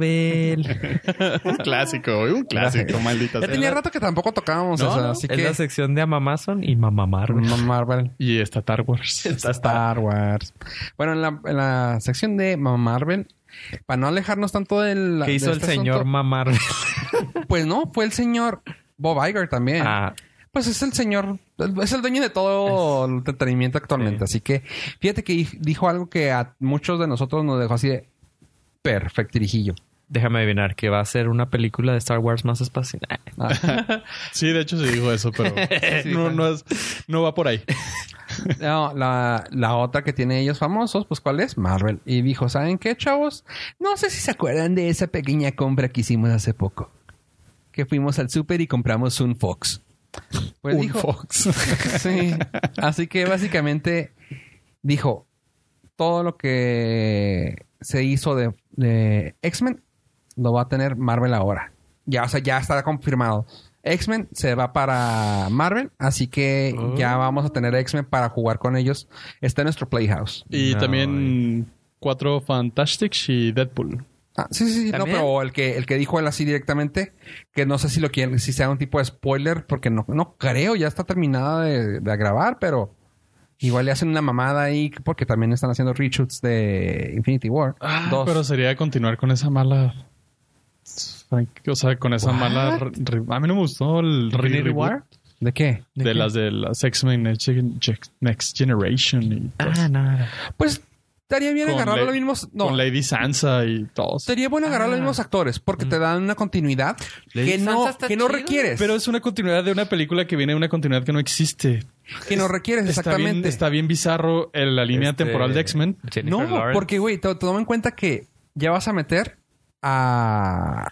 S4: Mamarvel.
S3: Un clásico, güey, un clásico, maldita
S2: ya
S3: sea.
S2: tenía rato que tampoco tocábamos
S3: No,
S2: esa,
S3: no,
S2: así
S4: es
S2: que...
S4: la sección de Amamazon y Mamamarvel.
S2: No, Marvel.
S3: Y está Star Wars.
S2: Star Wars. Bueno, en la, en la sección de Mamá Marvel, para no alejarnos tanto del...
S4: ¿Qué hizo
S2: de
S4: el
S2: este
S4: señor
S2: asunto,
S4: Mamarvel?
S2: Pues no, fue el señor Bob Iger también.
S4: Ah,
S2: Pues es el señor, es el dueño de todo el entretenimiento actualmente. Así que fíjate que dij- dijo algo que a muchos de nosotros nos dejó así de perfectirijillo.
S4: déjame adivinar que va a ser una película de Star Wars más espacial. Ah,
S3: Sí, de hecho se dijo eso, pero no, no, es, no va por ahí.
S2: No, la, la otra que tiene ellos famosos, pues ¿cuál es? Marvel. Y dijo, ¿saben qué, chavos? No sé si se acuerdan de esa pequeña compra que hicimos hace poco. Que fuimos al súper y compramos un Fox. Pues
S3: Un
S2: dijo-
S3: Fox.
S2: sí. Así que básicamente dijo, todo lo que se hizo de, de X-Men lo va a tener Marvel ahora. Ya, o sea, ya está confirmado. X-Men se va para Marvel, así que ya vamos a tener X-Men para jugar con ellos. Está en nuestro Playhouse.
S3: Y
S4: No,
S3: también cuatro Fantastics y Deadpool.
S2: Ah, sí, sí, sí. No,
S4: ¿También?
S2: pero el que, el que dijo él así directamente, que no sé si lo quieren, si sea un tipo de spoiler, porque no, no creo, ya está terminada de, de grabar, pero igual le hacen una mamada ahí, porque también están haciendo reshoots de Infinity War. Dos.
S3: Pero sería continuar con esa mala. O sea, con esa mala. re- re- A mí no me gustó el re-
S4: ¿Infinity
S3: reboot
S4: War?
S2: ¿De qué?
S4: ¿De
S3: De,
S4: qué?
S3: las de las X-Men Next, Gen- Gen- Next Generation y todo eso.
S4: Ah, nada.
S2: Pues estaría bien
S3: Con
S2: agarrar
S3: la-
S2: los mismos. No,
S3: Con Lady Sansa y todos.
S2: sería bueno agarrar
S4: Ah.
S2: los mismos actores, porque te dan una continuidad
S4: Lady
S2: que no,
S4: Mm. Sansa está
S2: que no
S4: chido.
S2: requieres.
S3: Pero es una continuidad de una película que viene de una continuidad que no existe.
S2: que no requieres,
S3: Está bien,
S2: exactamente.
S3: está bien bizarro el- la línea
S4: Este,
S3: temporal de X-Men.
S4: Jennifer
S2: No,
S4: Lawrence.
S2: porque, güey, to- toma en cuenta que ya vas a meter a,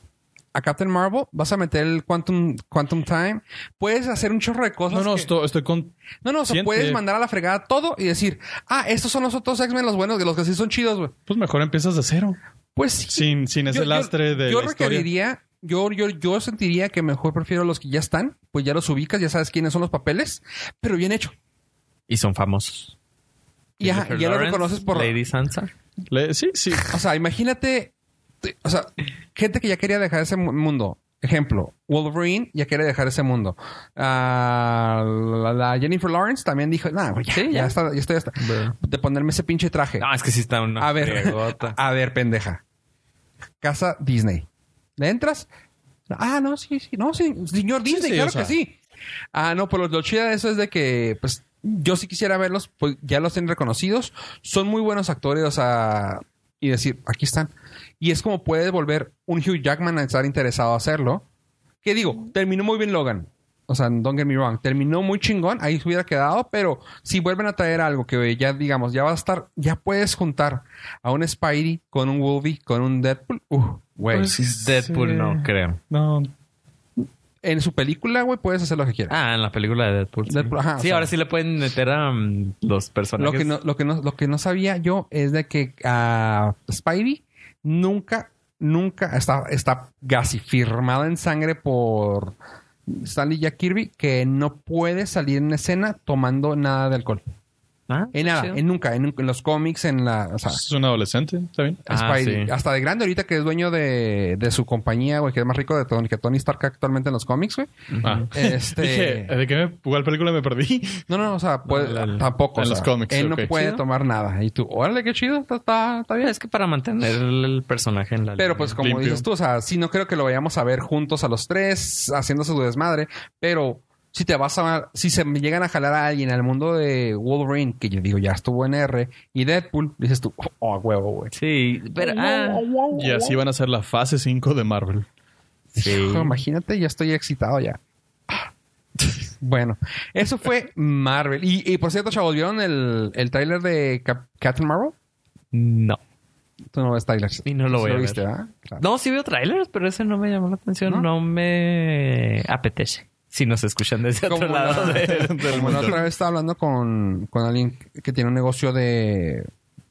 S2: a Captain Marvel, vas a meter el Quantum, Quantum Time, puedes hacer un chorro de cosas.
S3: No, no,
S2: que-
S3: esto- estoy con.
S2: no, no, o sea,
S3: siente.
S2: puedes mandar a la fregada todo y decir, ah, estos son los otros X-Men, los buenos, los que sí son chidos, güey.
S3: Pues mejor empiezas de cero.
S2: Pues sí.
S3: Sin, sin ese lastre de.
S2: yo
S3: la historia.
S2: requeriría, yo, yo, yo sentiría que mejor prefiero los que ya están, pues ya los ubicas, ya sabes quiénes son los papeles, pero bien hecho.
S4: Y son famosos.
S2: Y ajá,
S4: Jennifer
S2: ya los
S4: Lawrence,
S2: reconoces por...
S4: Lady Sansa.
S3: Le- sí, sí.
S2: O sea, imagínate, te- o sea, gente que ya quería dejar ese mu- mundo. Ejemplo, Wolverine ya quiere dejar ese mundo. Ah, la, la Jennifer Lawrence también dijo, nah, güey, ya,
S4: Sí,
S2: ya,
S4: ya. Ah,
S2: está, ya estoy hasta de ponerme ese pinche traje.
S4: No, es que sí está una
S2: a ver,
S4: fregota.
S2: a ver, pendeja. Casa Disney. ¿Le entras? Ah, no, sí, sí, no, sí, señor Disney,
S3: sí,
S2: claro
S3: o sea.
S2: que sí. Ah, no, pero lo chido de eso es de que, pues, yo sí quisiera verlos, pues ya los tienen reconocidos. Son muy buenos actores, o sea, y decir, aquí están. Y es como puede volver un Hugh Jackman a estar interesado a hacerlo. Que digo, terminó muy bien Logan. O sea, don't get me wrong. Terminó muy chingón, ahí se hubiera quedado, pero si vuelven a traer algo que eh, ya, digamos, ya va a estar, ya puedes juntar a un Spidey con un Wolvie, con un Deadpool. Uh, güey.
S3: Pues,
S4: Deadpool
S3: eh,
S4: no, creo.
S3: No.
S2: En su película, güey, puedes hacer lo que quieras.
S4: Ah, en la película de Deadpool. Sí,
S2: Deadpool, ajá, o
S4: Sí,
S2: sea.
S4: ahora sí le pueden meter a mm, los personajes.
S2: Lo que, no, lo, que no, lo que no sabía yo es de que a Spidey nunca, nunca está, está casi firmada en sangre por Stanley Jack Kirby que no puede salir en escena tomando nada de alcohol.
S4: Ah,
S2: En nada,
S4: chido.
S2: en nunca, en, en los cómics, en la. O sea,
S3: Es un adolescente, está bien.
S4: Ah,
S2: Spidey.
S4: sí.
S2: Hasta de grande, ahorita que es dueño de, de su compañía, güey, que es más rico de Tony, que Tony Stark actualmente en los cómics, güey.
S3: Ah.
S2: Este-
S3: Dije, ¿de qué me- cuál película me perdí?
S2: No, no, o sea, puede-
S3: No, Ah, el-
S2: tampoco.
S3: en
S2: o sea,
S3: los cómics,
S2: Él
S3: ok.
S2: no puede
S3: Chido.
S2: tomar nada. Y tú, órale, qué chido, está, está, está bien.
S4: Es que para mantener el el personaje en la
S2: Pero
S4: línea.
S2: pues como
S3: Limpio.
S2: dices tú, o sea, sí no creo que lo vayamos a ver juntos a los tres haciéndose su desmadre, pero si te vas a si se me llegan a jalar a alguien al mundo de Wolverine, que yo digo ya estuvo en R y Deadpool, dices tú, oh, oh, huevo, güey.
S4: Sí, pero... ah,
S3: Y así van a ser la fase 5 de Marvel.
S4: sí.
S2: Hijo, imagínate, ya estoy excitado ya. Bueno, eso fue Marvel. Y, y por cierto, chavos, ¿vieron el, el tráiler de Cap- Captain Marvel?
S4: No.
S2: Tú no ves trailers.
S4: Y no lo voy a ver.
S2: viste, ¿verdad? Claro.
S4: No, sí veo trailers, pero ese no me llamó la atención.
S2: ¿No?
S4: No, me apetece. Si nos escuchan desde
S2: Como
S4: otro lado.
S2: la-
S4: De,
S2: Como la otra vez estaba hablando con, con alguien que tiene un negocio de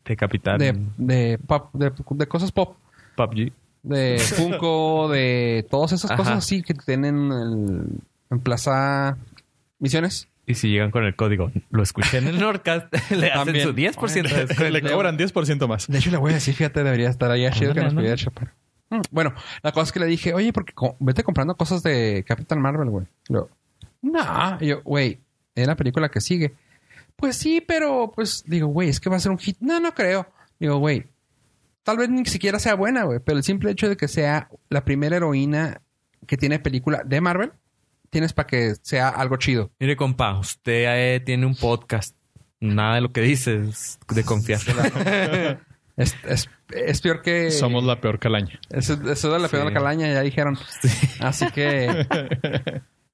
S4: de Capitán
S2: de, de pop, de, de cosas pop,
S4: PUBG.
S2: de Funko, de todas esas
S4: Ajá.
S2: cosas así que tienen el- en Plaza Misiones.
S4: Y si llegan con el código, lo escuché en el Nordcast, le hacen
S2: También.
S4: su 10% de descuento.
S3: Le cobran 10% más.
S2: Pues De hecho, le voy a decir, fíjate, debería estar ahí chido que
S4: Ándale,
S2: nos pidiera
S4: ándale.
S2: chapar. Mm, Bueno, la cosa es que le dije, oye, porque co- vete comprando cosas de Capitán Marvel, güey. No. Nah. Y yo, güey, es la película que sigue. Pues sí, pero pues digo, güey, es que va a ser un hit. No, no creo. Digo, güey, tal vez ni siquiera sea buena, güey, pero el simple hecho de que sea la primera heroína que tiene película de Marvel, tienes para que sea algo chido.
S4: Mire, compa, usted eh, tiene un podcast. Nada de lo que dices de confiar.
S2: Es, es- es peor que...
S3: Somos la peor calaña.
S2: Eso, eso la peor
S4: Sí.
S2: calaña, ya dijeron. Así que.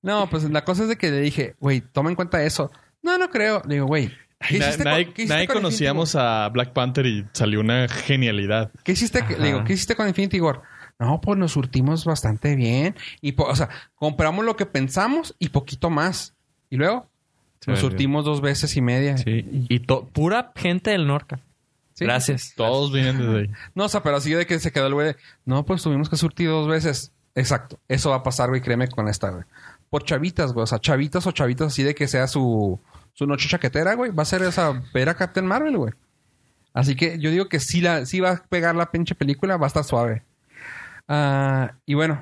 S2: No, pues la cosa es de que le dije, güey, toma en cuenta eso. No, no creo. Le digo, güey. ¿qué
S3: Na-
S2: hiciste
S3: nadie
S2: con- qué hiciste
S3: nadie
S2: con Infinity
S3: conocíamos a Black Panther y salió una genialidad.
S2: War? ¿Qué hiciste? que-
S4: Ajá.
S2: Le digo, ¿qué hiciste con Infinity War? No, pues nos surtimos bastante bien. Y, po- o sea, compramos lo que pensamos y poquito más. Y luego
S4: Sí,
S2: nos
S4: sí.
S2: surtimos dos veces y media.
S3: Sí.
S4: Y to- pura gente del Norca.
S2: Sí.
S4: Gracias.
S3: Todos vienen desde ahí.
S2: No, o sea, pero así de que se quedó el güey. de, No, pues tuvimos que surtir dos veces. Exacto. Eso va a pasar, güey. Créeme con esta, güey. Por chavitas, güey. O sea, chavitas o chavitas así de que sea su, su noche chaquetera, güey. Va a ser esa ver a Captain Marvel, güey. Así que yo digo que sí, la, sí va a pegar la pinche película. Va a estar suave. Ah, y bueno.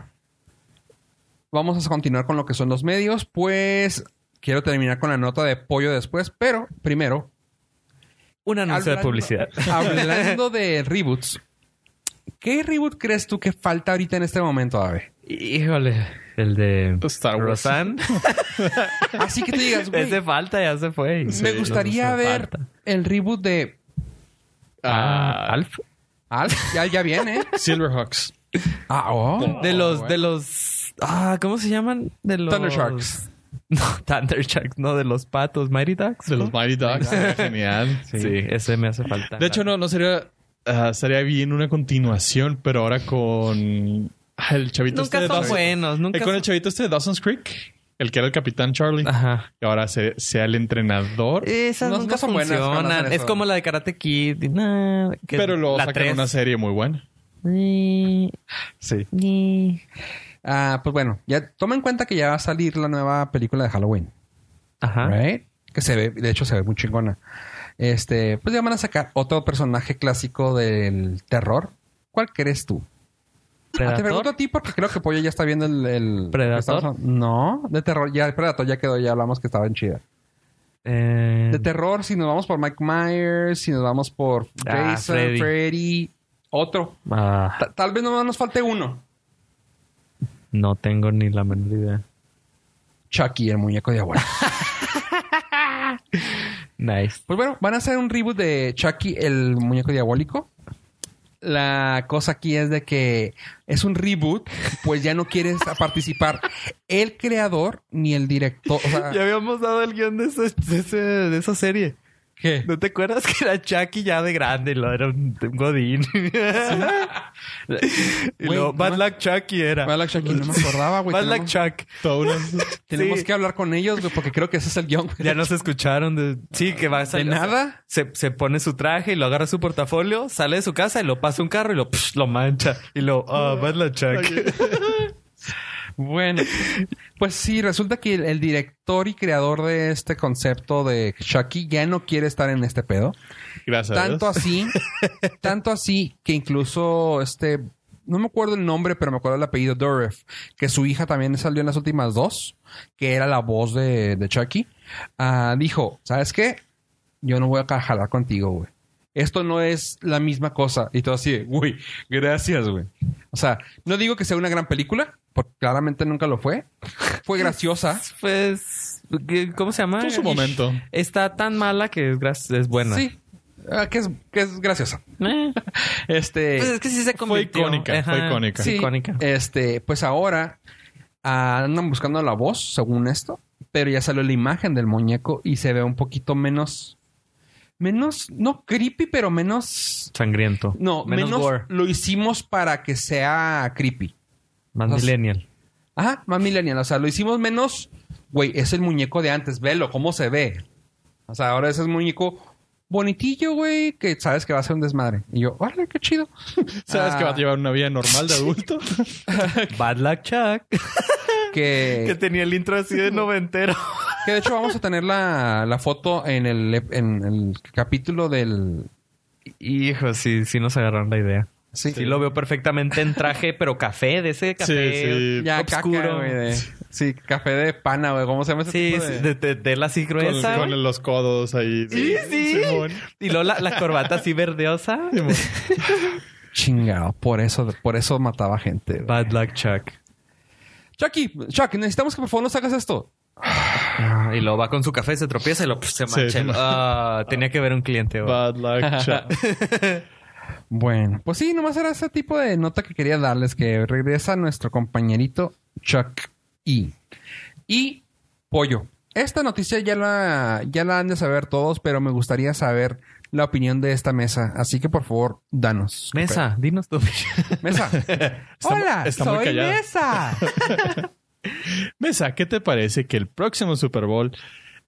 S2: Vamos a continuar con lo que son los medios. Pues quiero terminar con la nota de pollo después. Pero primero,
S4: Un anuncio de
S2: Hablando-
S4: publicidad.
S2: Hablando de reboots, ¿qué reboot crees tú que falta ahorita en este momento, Ave?
S4: Híjole. El de
S3: Star Wars.
S4: Rosan.
S2: Así que te digas, güey,
S4: Ese falta ya se fue.
S2: me gustaría
S4: Nos hizo
S2: ver
S4: falta.
S2: el reboot de
S4: Ah, Alf.
S2: Alf. Ya, ya viene.
S3: Silverhawks.
S2: Ah, oh.
S4: De los,
S2: güey.
S4: de los, ah, ¿cómo se llaman? De los
S2: Thunder Sharks.
S4: No, Thunder Sharks, no, de los patos, Mighty Ducks.
S3: De
S4: ¿no?
S3: los Mighty Ducks. Sería genial.
S4: Sí. ese me hace falta.
S3: Ah. De hecho, no, no sería. ah, sería bien una continuación, pero ahora con. ah, El chavito
S4: Nunca
S3: este de
S4: son
S3: Dawson-
S4: buenos, nunca
S3: eh, con el
S4: son-
S3: chavito este de Dawson's Creek, el que era el capitán Charlie.
S4: Ajá. Eh,
S3: Y ahora se- sea el entrenador.
S4: Esas
S2: No-
S4: nunca
S2: no son buenas cuando
S4: funcionan.
S2: hacen
S4: es
S2: eso.
S4: como la de Karate Kid. y nah, que
S3: pero luego
S4: la
S3: sacan
S4: tres.
S3: una serie muy buena.
S4: Ni-
S3: Sí.
S4: ni-
S2: Ah, pues bueno, ya toma en cuenta que ya va a salir la nueva película de Halloween.
S4: Ajá.
S2: Right? Que se ve, de hecho, se ve muy chingona. Este, pues ya van a sacar otro personaje clásico del terror. ¿Cuál crees tú? Ah, Te pregunto
S4: Predator.
S2: a ti porque creo que Pollo ya está viendo el... el-
S4: ¿Predator?
S2: estamos- no, de terror. Ya, el Predator ya quedó, ya hablamos que estaba en chida.
S4: Eh,
S2: De terror, si nos vamos por Mike Myers, si nos vamos por
S4: Ah,
S2: Jason, Freddy.
S4: Freddy.
S2: otro.
S4: ah,
S2: Ta- tal vez nomás nos falte uno.
S4: no tengo ni la menor idea.
S2: Chucky, el muñeco de agua.
S4: Nice.
S2: Pues bueno, van a hacer un reboot de Chucky, el muñeco diabólico. La cosa aquí es de que es un reboot, pues ya no quieres participar el creador ni el director. O
S4: Ah.
S2: sea,
S4: habíamos dado el guión de, esa serie.
S2: ¿qué?
S4: ¿No te acuerdas que era Chucky ya de grande? y Lo era un, un godín. y
S2: Güey,
S4: luego,
S2: no
S4: Bad
S2: me-
S4: Luck Chucky era.
S2: Bad Luck Chucky, no me acordaba, güey.
S4: Bad Luck
S2: Tenemos,
S4: Chuck.
S3: Todo un-
S2: tenemos
S4: Sí.
S2: que hablar con ellos, güey, porque creo que ese es el guión. güey.
S4: Ya no se escucharon. De, sí, que va a salir.
S2: Ah, ¿De nada?
S4: Se, se pone su traje y lo agarra su portafolio, sale de su casa y lo pasa a un carro y lo, psh, lo mancha. Y lo, ah, Bad Luck Chuck.
S2: Bueno, pues sí, resulta que el, el director y creador de este concepto de Chucky ya no quiere estar en este pedo.
S3: Gracias. a Dios.
S2: Tanto así, tanto así que incluso este, no me acuerdo el nombre, pero me acuerdo el apellido Dorev, que su hija también salió en las últimas dos, que era la voz de, de Chucky, ah, dijo, ¿sabes qué? Yo no voy a jalar contigo, güey. Esto no es la misma cosa. Y todo así, de, güey, gracias, güey. O sea, no digo que sea una gran película, porque claramente nunca lo fue. Fue graciosa.
S4: pues, ¿qué- ¿cómo se llama?
S3: Tuvo su momento.
S4: Está tan mala que es, gra- es buena.
S2: Sí. Ah, que, es, que es graciosa.
S4: Eh,
S2: Este.
S4: pues es que sí se convirtió.
S3: icónica, fue icónica.
S2: Eh,
S4: Sí, icónica.
S2: Este, pues ahora ah, andan buscando la voz, según esto. pero ya salió la imagen del muñeco y se ve un poquito menos. Menos, no creepy, pero menos.
S4: Sangriento.
S2: No, menos,
S4: gore.
S2: lo hicimos para que sea creepy.
S4: Más
S2: los-
S4: millennial.
S2: Ajá, más millennial. O sea, lo hicimos menos. Güey, es el muñeco de antes, velo, cómo se ve. O sea, ahora ese es muñeco bonitillo, güey, que sabes que va a ser un desmadre. Y yo, órale, qué chido.
S3: ¿Sabes
S2: Ah.
S3: que va a llevar una vida normal de adulto?
S4: Bad Luck Chuck. que
S2: Ah, Que,
S4: tenía el intro así de noventero.
S2: que de hecho vamos a tener la, la foto en el, ep- en el capítulo del...
S4: Hijo, sí, sí nos agarraron la idea.
S2: Sí,
S4: Sí lo veo perfectamente en traje, pero café, de ese café
S3: sí.
S2: Ya,
S4: oscuro.
S2: caca, güey, de- sí, café de pana, güey. ¿Cómo se llama ese
S4: Sí,
S2: tipo
S4: sí,
S2: de...?
S4: de, de, de la así
S3: con,
S4: gruesa.
S3: con
S4: güey.
S3: los codos ahí.
S4: Sí, sí.
S3: Simón.
S4: Y luego la, la corbata así verdeosa.
S3: Simón.
S2: Chingado, por eso, por eso mataba gente. güey.
S4: Bad Luck Chuck.
S2: Chucky, Chucky, necesitamos que por favor nos hagas esto.
S4: Ah, Y lo va con su café, se tropieza y lo pf, se
S3: Sí,
S4: mancha.
S3: se mancha.
S4: Ah, tenía que ver un cliente. güey.
S3: Bad luck, chap.
S2: Bueno, pues sí, nomás era ese tipo de nota que quería darles, que regresa nuestro compañerito Chuck E. Y Pollo. Esta noticia ya la, ya la han de saber todos, pero me gustaría saber la opinión de esta mesa. Así que por favor, danos.
S4: Mesa, dinos tú.
S2: Mesa. Hola,
S3: está muy
S2: soy
S3: callada.
S2: Mesa.
S3: Mesa, ¿qué te parece que el próximo Super Bowl,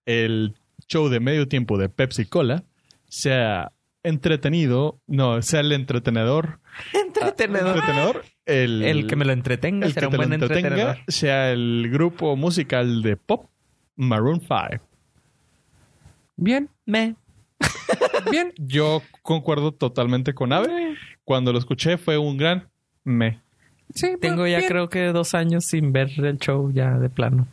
S3: el show de medio tiempo de Pepsi Cola, sea entretenido, no, sea el entretenedor,
S4: Entretenedor.
S3: entretenedor, Ah, el,
S4: El que me lo entretenga
S3: el que
S4: será un
S3: te lo
S4: buen
S3: entretenga
S4: entretenedor.
S3: sea el grupo musical de pop Maroon 5.
S2: Bien,
S4: Me.
S2: bien.
S3: Yo concuerdo totalmente con Ave. Cuando lo escuché fue un gran me.
S2: Sí,
S4: Tengo ya
S2: bien.
S4: creo que dos años sin ver el show ya de plano.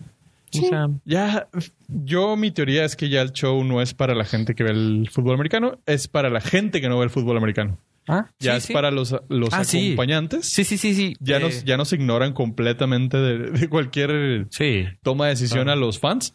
S4: O sea,
S3: Ya, yo mi teoría es que ya el show no es para la gente que ve el fútbol americano, es para la gente que no ve el fútbol americano.
S2: Ah,
S3: Ya
S4: Sí,
S3: es
S4: sí.
S3: para los, los
S4: Ah, sí.
S3: acompañantes.
S4: sí, sí, sí, sí.
S3: Ya,
S4: Eh,
S3: nos, ya nos ignoran completamente de, de cualquier
S4: Sí.
S3: toma de decisión
S4: Ah.
S3: a los fans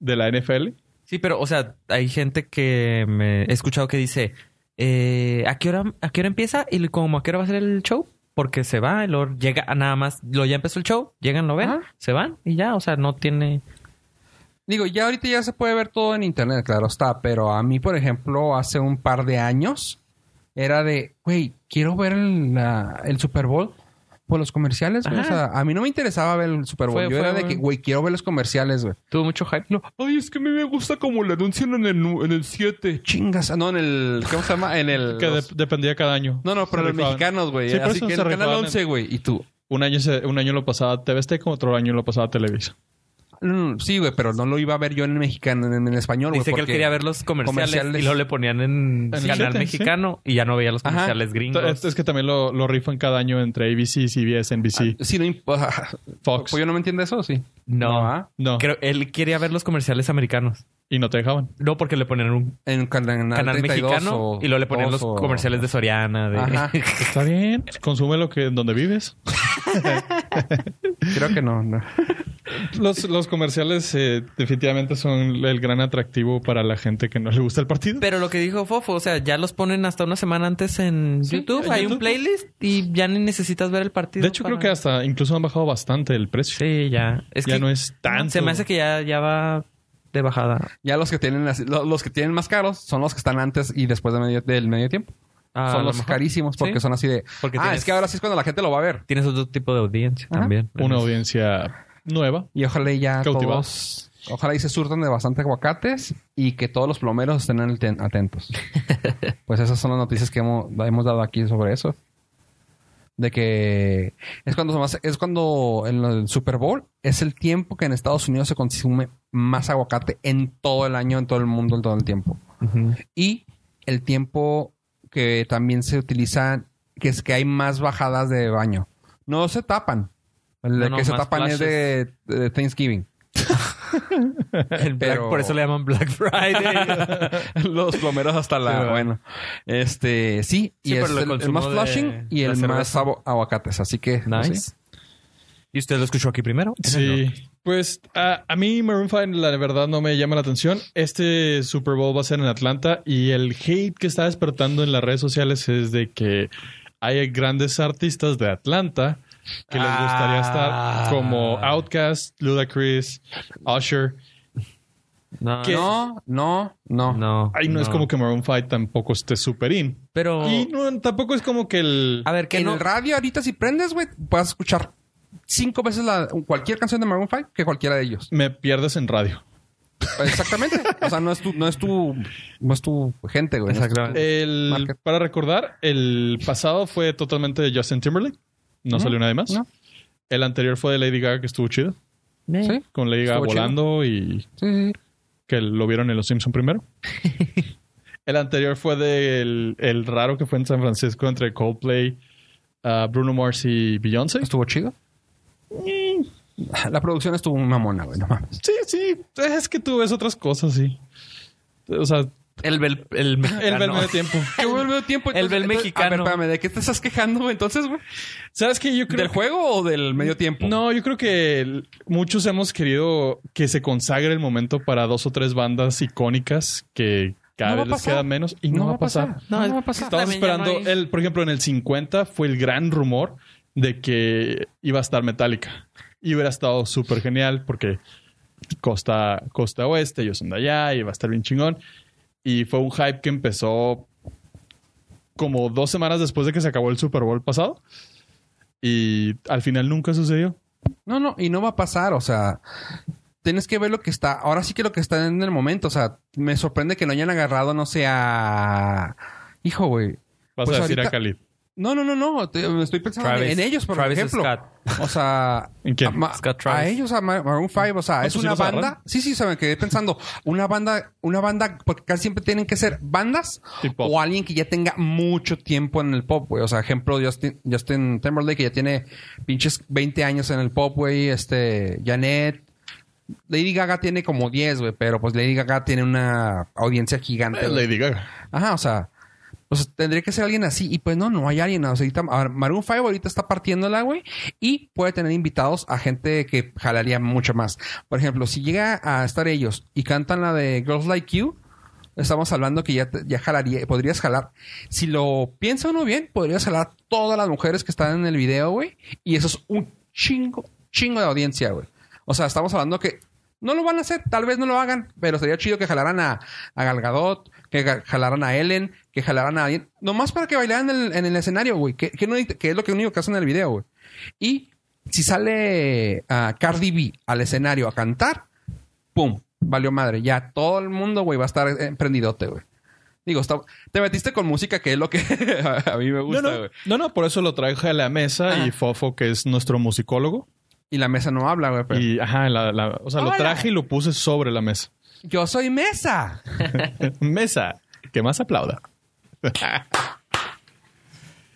S3: de la NFL.
S4: Sí, pero, o sea, hay gente que me he escuchado que dice, eh, ¿a, qué hora, ¿a qué hora empieza? Y como, ¿a qué hora va a ser el show? Porque se va, y luego llega ah, nada más, lo ya empezó el show, llegan, lo ven,
S2: Ajá.
S4: se van y ya, o sea, no tiene...
S2: Digo, ya ahorita ya se puede ver todo en internet, claro está, pero a mí, por ejemplo, hace un par de años era de, güey, quiero ver el, la- el Super Bowl por los comerciales, güey. O
S4: Ajá.
S2: sea, a mí no me interesaba ver el Super Bowl.
S4: Fue- fue,
S2: Yo era de
S4: güey.
S2: que, güey, quiero ver los comerciales, güey.
S4: Tuvo mucho hype. No.
S2: Ay, es que a mí me gusta como le anuncian en el, en el 7. Chingas. ah, No, en el. ¿Cómo se llama? En el.
S3: Que de-
S2: los-
S3: dependía cada año.
S2: no, no, pero
S3: Se
S2: los
S3: rifaban.
S2: mexicanos, güey.
S3: Sí, por
S2: Así
S3: eso
S2: que
S3: se
S2: el canal
S3: rifaban en-
S2: 11, güey. Y tú.
S3: Un año, se- un año lo pasaba TV Azteca, otro año lo pasaba Televisa.
S2: Mm, Sí, güey, pero no lo iba a ver yo en el mexicano, en el español, güey.
S4: Dice que él
S2: porque-
S4: quería ver los comerciales,
S2: comerciales.
S4: y luego le ponían en
S3: En el
S4: canal
S3: siete,
S4: mexicano y ya no veía los
S2: Ajá.
S4: comerciales gringos.
S3: Esto es que también lo, lo rifan cada año entre ABC, CBS, NBC,
S2: Sí, no importa.
S3: Fox.
S2: Pues yo no me entiende eso, sí.
S4: no,
S2: ¿ah?
S3: No,
S4: Creo- él quería ver los comerciales americanos.
S3: y no te dejaban.
S4: No, porque le ponían un
S2: En un canal,
S4: canal
S2: 32
S4: mexicano
S2: o
S4: y luego le ponían los
S2: 2 o-
S4: comerciales de Soriana, de...
S2: Ajá.
S3: Está bien, pues, consume lo que donde vives.
S2: Creo que no. no.
S3: Los, los comerciales eh, definitivamente son el gran atractivo para la gente que no le gusta el partido.
S4: Pero lo que dijo Fofo, o sea, ya los ponen hasta una semana antes en
S3: Sí,
S4: YouTube.
S3: en
S4: Hay
S3: YouTube.
S4: un playlist y ya ni necesitas ver el partido.
S3: De hecho,
S4: para-
S3: creo que hasta incluso han bajado bastante el precio.
S4: Sí, ya. Es
S3: ya
S4: que
S3: no es tan.
S4: Se me hace que ya, ya va de bajada.
S2: Ya los que tienen las- lo- los que tienen más caros son los que están antes y después de medio- del medio tiempo.
S4: Ah, a
S2: son
S4: lo
S2: los
S4: mejor.
S2: carísimos porque
S4: Sí.
S2: son así de.
S4: Porque
S2: ah,
S4: tienes-
S2: es que ahora sí es cuando la gente lo va a ver.
S4: Tienes otro tipo de audiencia
S2: Ajá.
S4: también.
S3: Una audiencia nueva.
S2: Y ojalá y ya
S3: Cautivado.
S2: todos. Ojalá y se surtan de bastante aguacates y que todos los plomeros estén aten- atentos. pues esas son las noticias que hemos, hemos dado aquí sobre eso. De que es cuando, se más- es cuando en el Super Bowl es el tiempo que en Estados Unidos se consume más aguacate en todo el año, en todo el mundo, en todo el tiempo.
S4: Ujú.
S2: y el tiempo que también se utiliza, que es que hay más bajadas de baño. No se tapan. El
S4: No,
S2: de
S4: no,
S2: que se
S4: más
S2: tapan es de, de Thanksgiving.
S4: El Black-
S2: Pero-
S4: Por eso le llaman Black Friday.
S2: Los plomeros hasta la...
S4: Sí,
S2: bueno. Este, sí. Y
S4: Sí, pero
S2: es
S4: el
S2: el, el
S4: consumo
S2: más
S4: de
S2: flushing y
S4: la
S2: el más
S4: cerveza.
S2: abo- aguacates. Así que... pues, sí.
S4: nice. ¿Y usted lo escuchó aquí primero?
S3: Sí. Pues a, a mí Maroon 5 la verdad no me llama la atención. Este Super Bowl va a ser en Atlanta y el hate que está despertando en las redes sociales es de que hay grandes artistas de Atlanta que les gustaría estar, como
S4: Ah.
S3: Outcast, Ludacris, Usher.
S4: No,
S3: ¿Qué?
S2: No, no, no.
S4: no.
S3: Ahí no, es como que Maroon 5 tampoco esté super in.
S4: Pero.
S3: Y no, tampoco es como que el...
S4: A ver, que
S2: en
S4: no.
S2: el radio ahorita si prendes, güey, vas a escuchar cinco veces la, cualquier canción de Maroon 5 que cualquiera de ellos.
S3: Me pierdes en radio.
S2: Exactamente. o sea, no es tu, no es tu, no es tu gente, güey.
S4: Exactamente.
S3: El-
S2: Market.
S3: para recordar, el pasado fue totalmente de Justin Timberlake. No salió nadie más.
S2: no.
S3: El anterior fue de Lady Gaga, que estuvo chido.
S2: No es tu-
S4: Eh.
S2: Sí,
S3: Con Lady Gaga
S2: Estuvo chido.
S3: volando y
S2: sí, sí.
S3: que lo vieron en Los Simpson primero. el anterior fue del el raro que fue en San Francisco entre Coldplay, ah, Bruno Mars y Beyoncé.
S2: Estuvo chido. La producción estuvo mamona, güey. No mames.
S3: Sí, sí. Es que tú ves otras cosas, sí. O sea,
S4: El bel. El
S3: el
S4: mexicano.
S3: verme de tiempo.
S2: Que güey, el medio tiempo.
S4: El del
S2: entonces-
S4: mexicano.
S2: A ver, espérame, ¿de qué te estás quejando, güey? Entonces, güey.
S3: ¿Sabes qué? Yo creo
S2: ¿Del
S3: que-
S2: juego o del medio tiempo?
S3: No, yo creo que el- muchos hemos querido que se consagre el momento para dos o tres bandas icónicas que cada
S2: No va
S3: vez
S2: a
S3: les
S2: pasar.
S3: queda menos y no, va a pasar.
S4: No,
S2: No,
S4: es-
S2: va a pasar.
S3: Estamos
S4: También ya no
S3: esperando,
S4: hay-
S3: el, por ejemplo, en el 50 fue el gran rumor de que iba a estar Metallica y hubiera estado súper genial porque costa, costa oeste, ellos son de allá y va a estar bien chingón. Y fue un hype que empezó como dos semanas después de que se acabó el Super Bowl pasado y al final nunca sucedió.
S2: No, no, y no va a pasar, o sea, tienes que ver lo que está, ahora sí que lo que está en el momento, o sea, me sorprende que no hayan agarrado, no sé, a... Hijo, güey.
S3: Vas
S2: Pues
S3: a decir
S2: ahorita-
S3: a Khalid.
S2: No, no, no, no, te- me estoy pensando en-
S4: Travis-
S2: en ellos, por
S4: Travis
S2: ejemplo.
S4: Scott.
S2: O sea,
S3: ¿En quién?
S2: a, ma-
S4: Scott Travis.
S2: a ellos, a Ma- Maroon 5, o sea, es
S3: pues sí
S2: una
S3: los agarraron.
S2: banda. Sí, sí, se me quedé pensando, una banda, una banda, porque casi siempre tienen que ser bandas
S3: Y pop.
S2: o alguien que ya tenga mucho tiempo en el pop, güey. O sea, ejemplo, Justin, Justin Timberlake, que ya tiene pinches 20 años en el pop, güey. Este, Janet. Lady Gaga tiene como 10, güey, pero pues Lady Gaga tiene una audiencia gigante.
S3: Eh,
S2: güey.
S3: Lady Gaga.
S2: Ajá, o sea, pues tendría que ser alguien así. Y pues no, no hay alguien. O sea, ahorita, a ver, Maroon 5 ahorita está partiéndola, güey. Y puede tener invitados a gente que jalaría mucho más. Por ejemplo, si llega a estar ellos y cantan la de Girls Like You, estamos hablando que ya, te- ya jalaría, podrías jalar. Si lo piensa uno bien, podrías jalar todas las mujeres que están en el video, güey. Y eso es un chingo, chingo de audiencia, güey. O sea, estamos hablando que no lo van a hacer, tal vez no lo hagan, pero sería chido que jalaran a, a Gal Gadot, que ga- jalaran a Ellen, que jalaran a alguien, nomás para que bailaran en el, en el escenario, güey, que, que no- que es lo que único que hacen en el video, güey. Y si sale a Cardi B al escenario a cantar, ¡pum! Valió madre, ya todo el mundo, güey, va a estar eh, prendidote, güey. Digo, está- te metiste con música que es lo que a, a mí me
S3: No
S2: gusta,
S3: no,
S2: güey.
S3: no, no, por eso lo traje a la mesa y Fofo, que es nuestro musicólogo.
S2: Y la mesa no habla, güey, pero...
S3: Y, ajá, la- la- o sea, lo
S2: Hola.
S3: traje y lo puse sobre la mesa.
S2: ¡Yo soy mesa!
S3: mesa, que más aplauda.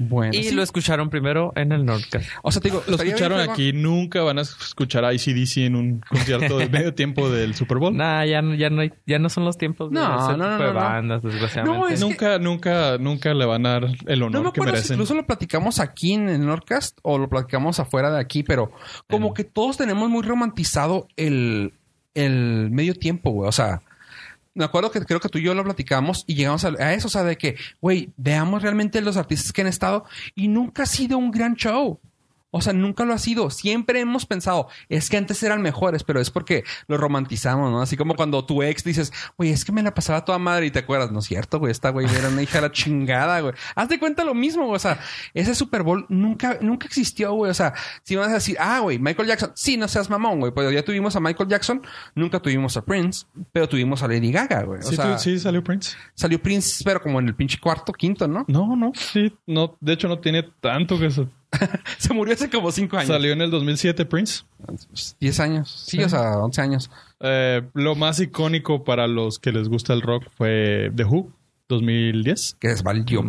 S2: Bueno,
S4: Y
S2: sí.
S4: lo escucharon primero en el Nordcast.
S2: o sea, te digo,
S3: Lo
S2: estaría bien
S3: escucharon
S2: fregón.
S3: aquí, nunca van a escuchar a ICDC en un concierto de medio tiempo del Super Bowl.
S4: Nah, ya, no- ya, no, hay- ya no son los tiempos de
S2: No,
S4: ese
S2: no, no,
S4: tipo de
S2: no, no.
S4: bandas, desgraciadamente.
S2: No, es-
S3: nunca, nunca, nunca le van a dar el honor
S2: No me
S3: que
S2: acuerdo si
S3: merecen.
S2: incluso lo platicamos aquí en el Nordcast o lo platicamos afuera de aquí, pero como que todos tenemos muy romantizado el, el medio tiempo, güey. O sea, me acuerdo que creo que tú y yo lo platicamos y llegamos a, a eso, o sea, de que, güey, veamos realmente los artistas que han estado y nunca ha sido un gran show. O sea, nunca lo ha sido. Siempre hemos pensado, es que antes eran mejores, pero es porque lo romantizamos, ¿no? Así como cuando tu ex dices, güey, es que me la pasaba toda madre y te acuerdas, no es cierto, güey, esta güey era una hija de la chingada, güey. Haz de cuenta lo mismo, güey. O sea, ese Super Bowl nunca, nunca existió, güey. O sea, si vas a decir, ah, güey, Michael Jackson, sí, no seas mamón, güey, pero ya tuvimos a Michael Jackson, nunca tuvimos a Prince, pero tuvimos a Lady Gaga, güey. O
S3: ¿Sí,
S2: sea,
S3: tú- sí salió Prince?
S2: salió Prince, pero como en el pinche cuarto, quinto, ¿no?
S3: No, no, sí. No, de hecho, no tiene tanto que... sa-
S2: Se murió hace como cinco años.
S3: Salió en el 2007 Prince.
S2: Diez años. Sí, o sea, once años.
S3: Eh, lo más icónico para los que les gusta el rock fue The Who, 2010.
S2: que les valió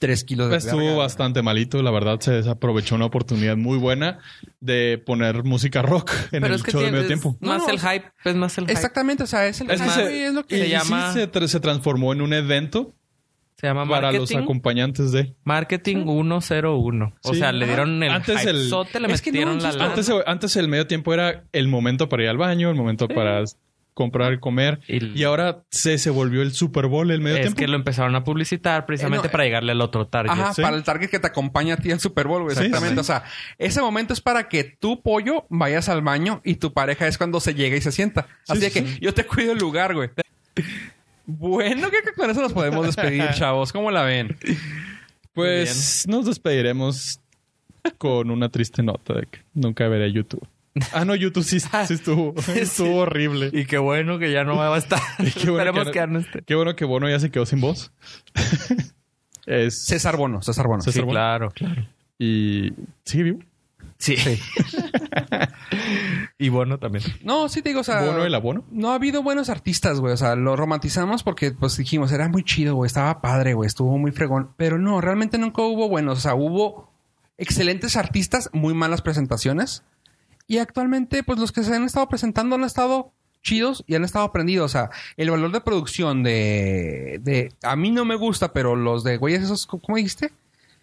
S2: tres kilos de
S3: Estuvo
S2: verga.
S3: bastante malito, la verdad se desaprovechó una oportunidad muy buena de poner música rock en el show de
S4: tiene-
S3: medio
S4: es
S3: tiempo.
S4: más
S2: No, no,
S4: el hype,
S2: pues,
S4: es más el hype.
S2: Exactamente, o sea, es el
S3: Es que
S2: Ah,
S4: se-
S2: güey, es lo
S3: y
S4: se
S3: sí
S4: llama-
S3: se, tra- se transformó en un evento
S4: Se llama
S3: para los
S4: marketing.
S3: acompañantes de.
S4: Marketing 101. O
S3: Sí.
S4: sea, le dieron el
S3: Antes el-
S4: hypezote, le
S2: Es que no,
S4: metieron la
S2: insisto,
S4: lana.
S3: Antes, antes el medio tiempo era el momento para ir al baño, el momento para comprar, comer.
S4: Y-
S3: Y ahora se, se volvió el Super Bowl el medio
S4: Es
S3: tiempo.
S4: que lo empezaron a publicitar precisamente
S2: Eh, no,
S4: para llegarle al otro target.
S2: Ajá,
S3: Sí.
S2: para el target que te acompaña a ti al Super Bowl, güey,
S3: Sí,
S2: Exactamente.
S3: sí.
S2: O sea, ese momento es para que tú, pollo, vayas al baño y tu pareja es cuando se llega y se sienta. Así
S3: sí,
S2: de que yo te cuido el lugar, güey. Bueno, creo que con eso nos podemos despedir, chavos. ¿Cómo la ven?
S3: Pues nos despediremos con una triste nota de que nunca veré YouTube. Ah, no, YouTube sí, sí estuvo, estuvo horrible.
S4: Y qué bueno que ya no va a estar.
S3: Y qué bueno
S4: Esperemos que,
S3: que-
S4: ya no esté.
S3: Qué bueno que Bono ya se quedó sin voz. es,
S2: César Bono, César Bono.
S3: César
S4: Sí,
S3: Bono.
S4: claro, claro.
S3: Y sigue vivo.
S4: Sí. y bueno también.
S2: No, sí te digo, o sea.
S3: Bono el abono.
S2: No ha habido buenos artistas, güey. O sea, lo romantizamos porque, pues, dijimos, era muy chido, güey. Estaba padre, güey. Estuvo muy fregón. Pero no, realmente nunca hubo buenos. O sea, hubo excelentes artistas, muy malas presentaciones. Y actualmente, pues, los que se han estado presentando han estado chidos y han estado aprendidos. O sea, el valor de producción de... de a mí no me gusta, pero los de, güeyes esos, ¿cómo dijiste?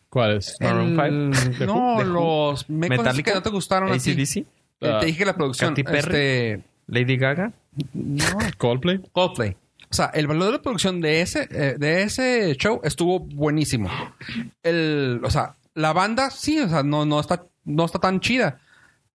S3: ¿Cuál es?
S2: Eh.
S4: Maroon
S2: El-
S3: five? ¿De
S2: No,
S3: Who? ¿De Who?
S2: los... mecos esos
S4: Metallica?
S2: que no te gustaron a ti.
S4: ACDC,
S2: Eh,
S3: Ah,
S2: te dije que la producción...
S4: Katy Perry.
S2: Este,
S4: Lady Gaga.
S2: no,
S3: Coldplay.
S2: Coldplay. O sea, el valor de la producción de ese, eh, de ese show estuvo buenísimo. El, o sea, la banda sí, o sea, no, no, está, no está tan chida.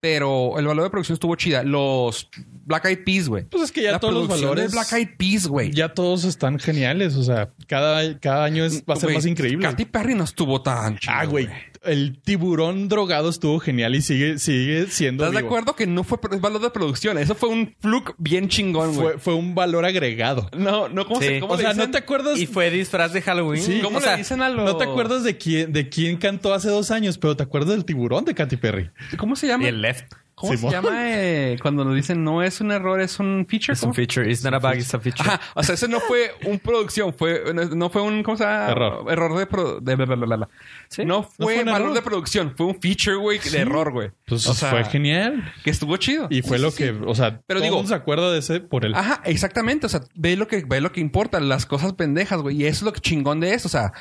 S2: Pero el valor de producción estuvo chida. Los Black Eyed Peas, güey.
S3: Pues es que ya
S2: la
S3: todos los
S2: producción
S3: valores-
S2: de Black Eyed Peas, güey.
S3: Ya todos están geniales. O sea, cada, cada año es- va a ser
S2: Güey,
S3: más increíble.
S2: Katy Perry no estuvo tan chida.
S3: Ah, güey. El tiburón drogado estuvo genial y sigue, sigue siendo.
S2: ¿Estás de
S3: vivo.
S2: acuerdo que no fue pro- valor de producción? Eso fue un fluke bien chingón, güey.
S3: Fue, fue un valor agregado.
S2: No, no, ¿cómo
S4: Sí.
S2: se cómo
S3: O
S2: le
S3: sea,
S2: dicen?
S3: no te acuerdas.
S4: Y fue disfraz de Halloween.
S3: Sí.
S2: ¿Cómo
S3: o
S2: le
S3: sea,
S2: dicen a los...
S3: No te acuerdas de quién, de quién cantó hace dos años, pero te acuerdas del tiburón de Katy Perry.
S2: ¿Cómo se llama?
S4: Y el left.
S2: ¿Cómo
S3: Simón.
S2: se llama eh, cuando nos dicen no es un error, es un feature?
S4: Es
S2: ¿Cómo?
S4: un feature. It's not a bug, it's a feature.
S2: Ajá, o sea, ese no fue un producción, fue no fue un ¿cómo se llama?
S3: Error.
S2: de, pro- de bla, bla, bla, bla.
S4: Sí.
S2: No
S3: No fue
S2: fue
S3: un
S2: valor
S3: error.
S2: de producción, fue un feature, güey, de error, güey.
S3: Pues
S2: O sea,
S3: fue genial.
S2: que estuvo chido.
S3: Y fue lo que, o sea,
S2: Pero
S3: todo
S2: digo- ah,
S3: mundo se acuerda de ese por el.
S2: Ajá, exactamente, o sea, ve lo que ve lo que importa, las cosas pendejas, güey, y eso es lo que chingón de eso, o sea,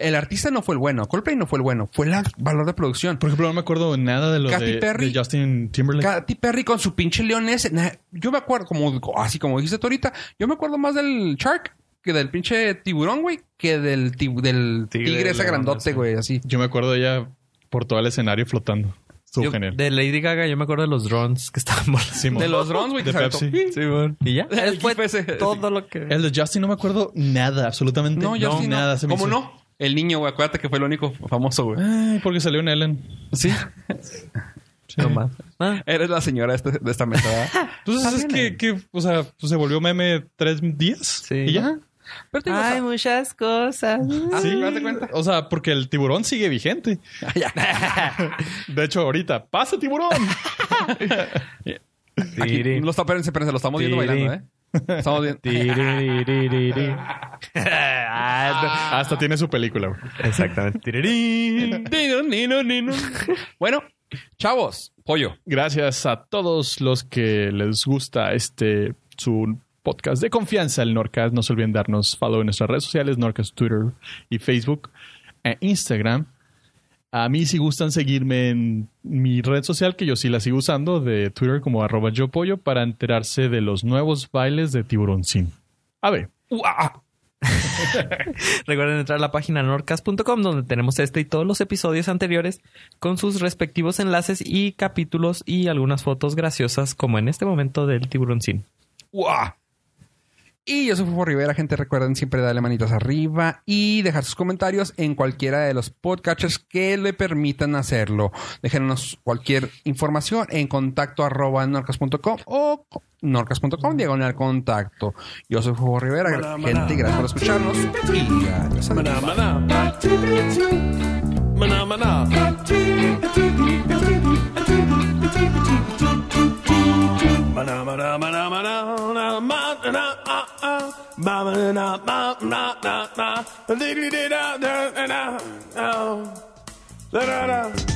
S2: el artista no fue el bueno, Coldplay no fue el bueno, fue el valor de producción.
S3: Por ejemplo, no me acuerdo nada de lo
S2: Katy
S3: de,
S2: Perry.
S3: de Justin Timberlake.
S2: Katy Perry con su pinche león ese. Nah, yo me acuerdo, como así como dijiste tú ahorita, yo me acuerdo más del shark que del pinche tiburón, güey, que del, ti- del
S4: Tigre,
S2: tigre, ese
S4: león,
S2: grandote,
S4: sí.
S2: güey, así.
S3: Yo me acuerdo de ella por todo el escenario flotando. Estuvo
S4: Yo-
S3: genial.
S4: de Lady Gaga, yo me acuerdo de los drones que estaban volando.
S3: Simón.
S2: De los drones, güey, que
S3: De
S2: saltó.
S3: Pepsi.
S4: Sí, bueno. Y ya.
S2: El
S4: Fue
S2: GIF ese.
S4: todo lo que.
S3: El de Justin no me acuerdo nada, absolutamente
S2: No, yo sí no.
S3: nada. se me
S2: ¿Cómo
S3: hizo.
S2: no? El niño, güey, acuérdate que fue el único famoso, güey.
S3: Ay, porque salió en Ellen.
S2: Sí.
S4: No más. Ah,
S2: Eres la señora de, este- de esta mesa, ¿verdad?
S3: Entonces
S2: Salió
S3: es
S2: en
S3: que,
S2: Ellen.
S3: que, o sea, pues, se volvió meme tres días.
S4: Sí.
S3: Y ya.
S2: Pero te digo, o sea,
S4: muchas cosas.
S2: ah,
S3: Sí.
S2: date cuenta. Ah,
S3: O sea, porque el tiburón sigue vigente. De hecho, ahorita, pasa tiburón.
S2: Aquí, lo está, espérense, espérense, lo estamos viendo
S4: Tiri.
S2: bailando, ¿eh? Estamos viendo.
S4: Tiririririririri. Ah,
S3: Hasta tiene su película. güey.
S4: no. Exactamente. Tirirín.
S2: Nino, nino, nino. Bueno, chavos, pollo.
S3: Gracias a todos los que les gusta este su podcast de confianza, el Norcast. No se olviden darnos follow en nuestras redes sociales, Norcast Twitter y Facebook, e Instagram. A mí si gustan seguirme en mi red social, que yo sí la sigo usando, de Twitter como arroba yo pollo, para enterarse de los nuevos bailes de tiburoncín. A ver,
S4: Recuerden entrar a la página norcas.com donde tenemos este y todos los episodios anteriores con sus respectivos enlaces y capítulos y algunas fotos graciosas como en este momento del tiburoncín.
S2: ¡Guau! Y yo soy Fofo Rivera, gente. Recuerden siempre darle manitas arriba y dejar sus comentarios en cualquiera de los podcatchers que le permitan hacerlo. Déjenos cualquier información en contacto arroba norcas.com o norcas.com diagonal contacto. Yo soy Fofo Rivera, gente. Gracias por escucharnos y adiós.
S5: Mana mana pat Mana mana pat Mana mana mana mana mana ah ah ma mana ma na na na digly da da na na da da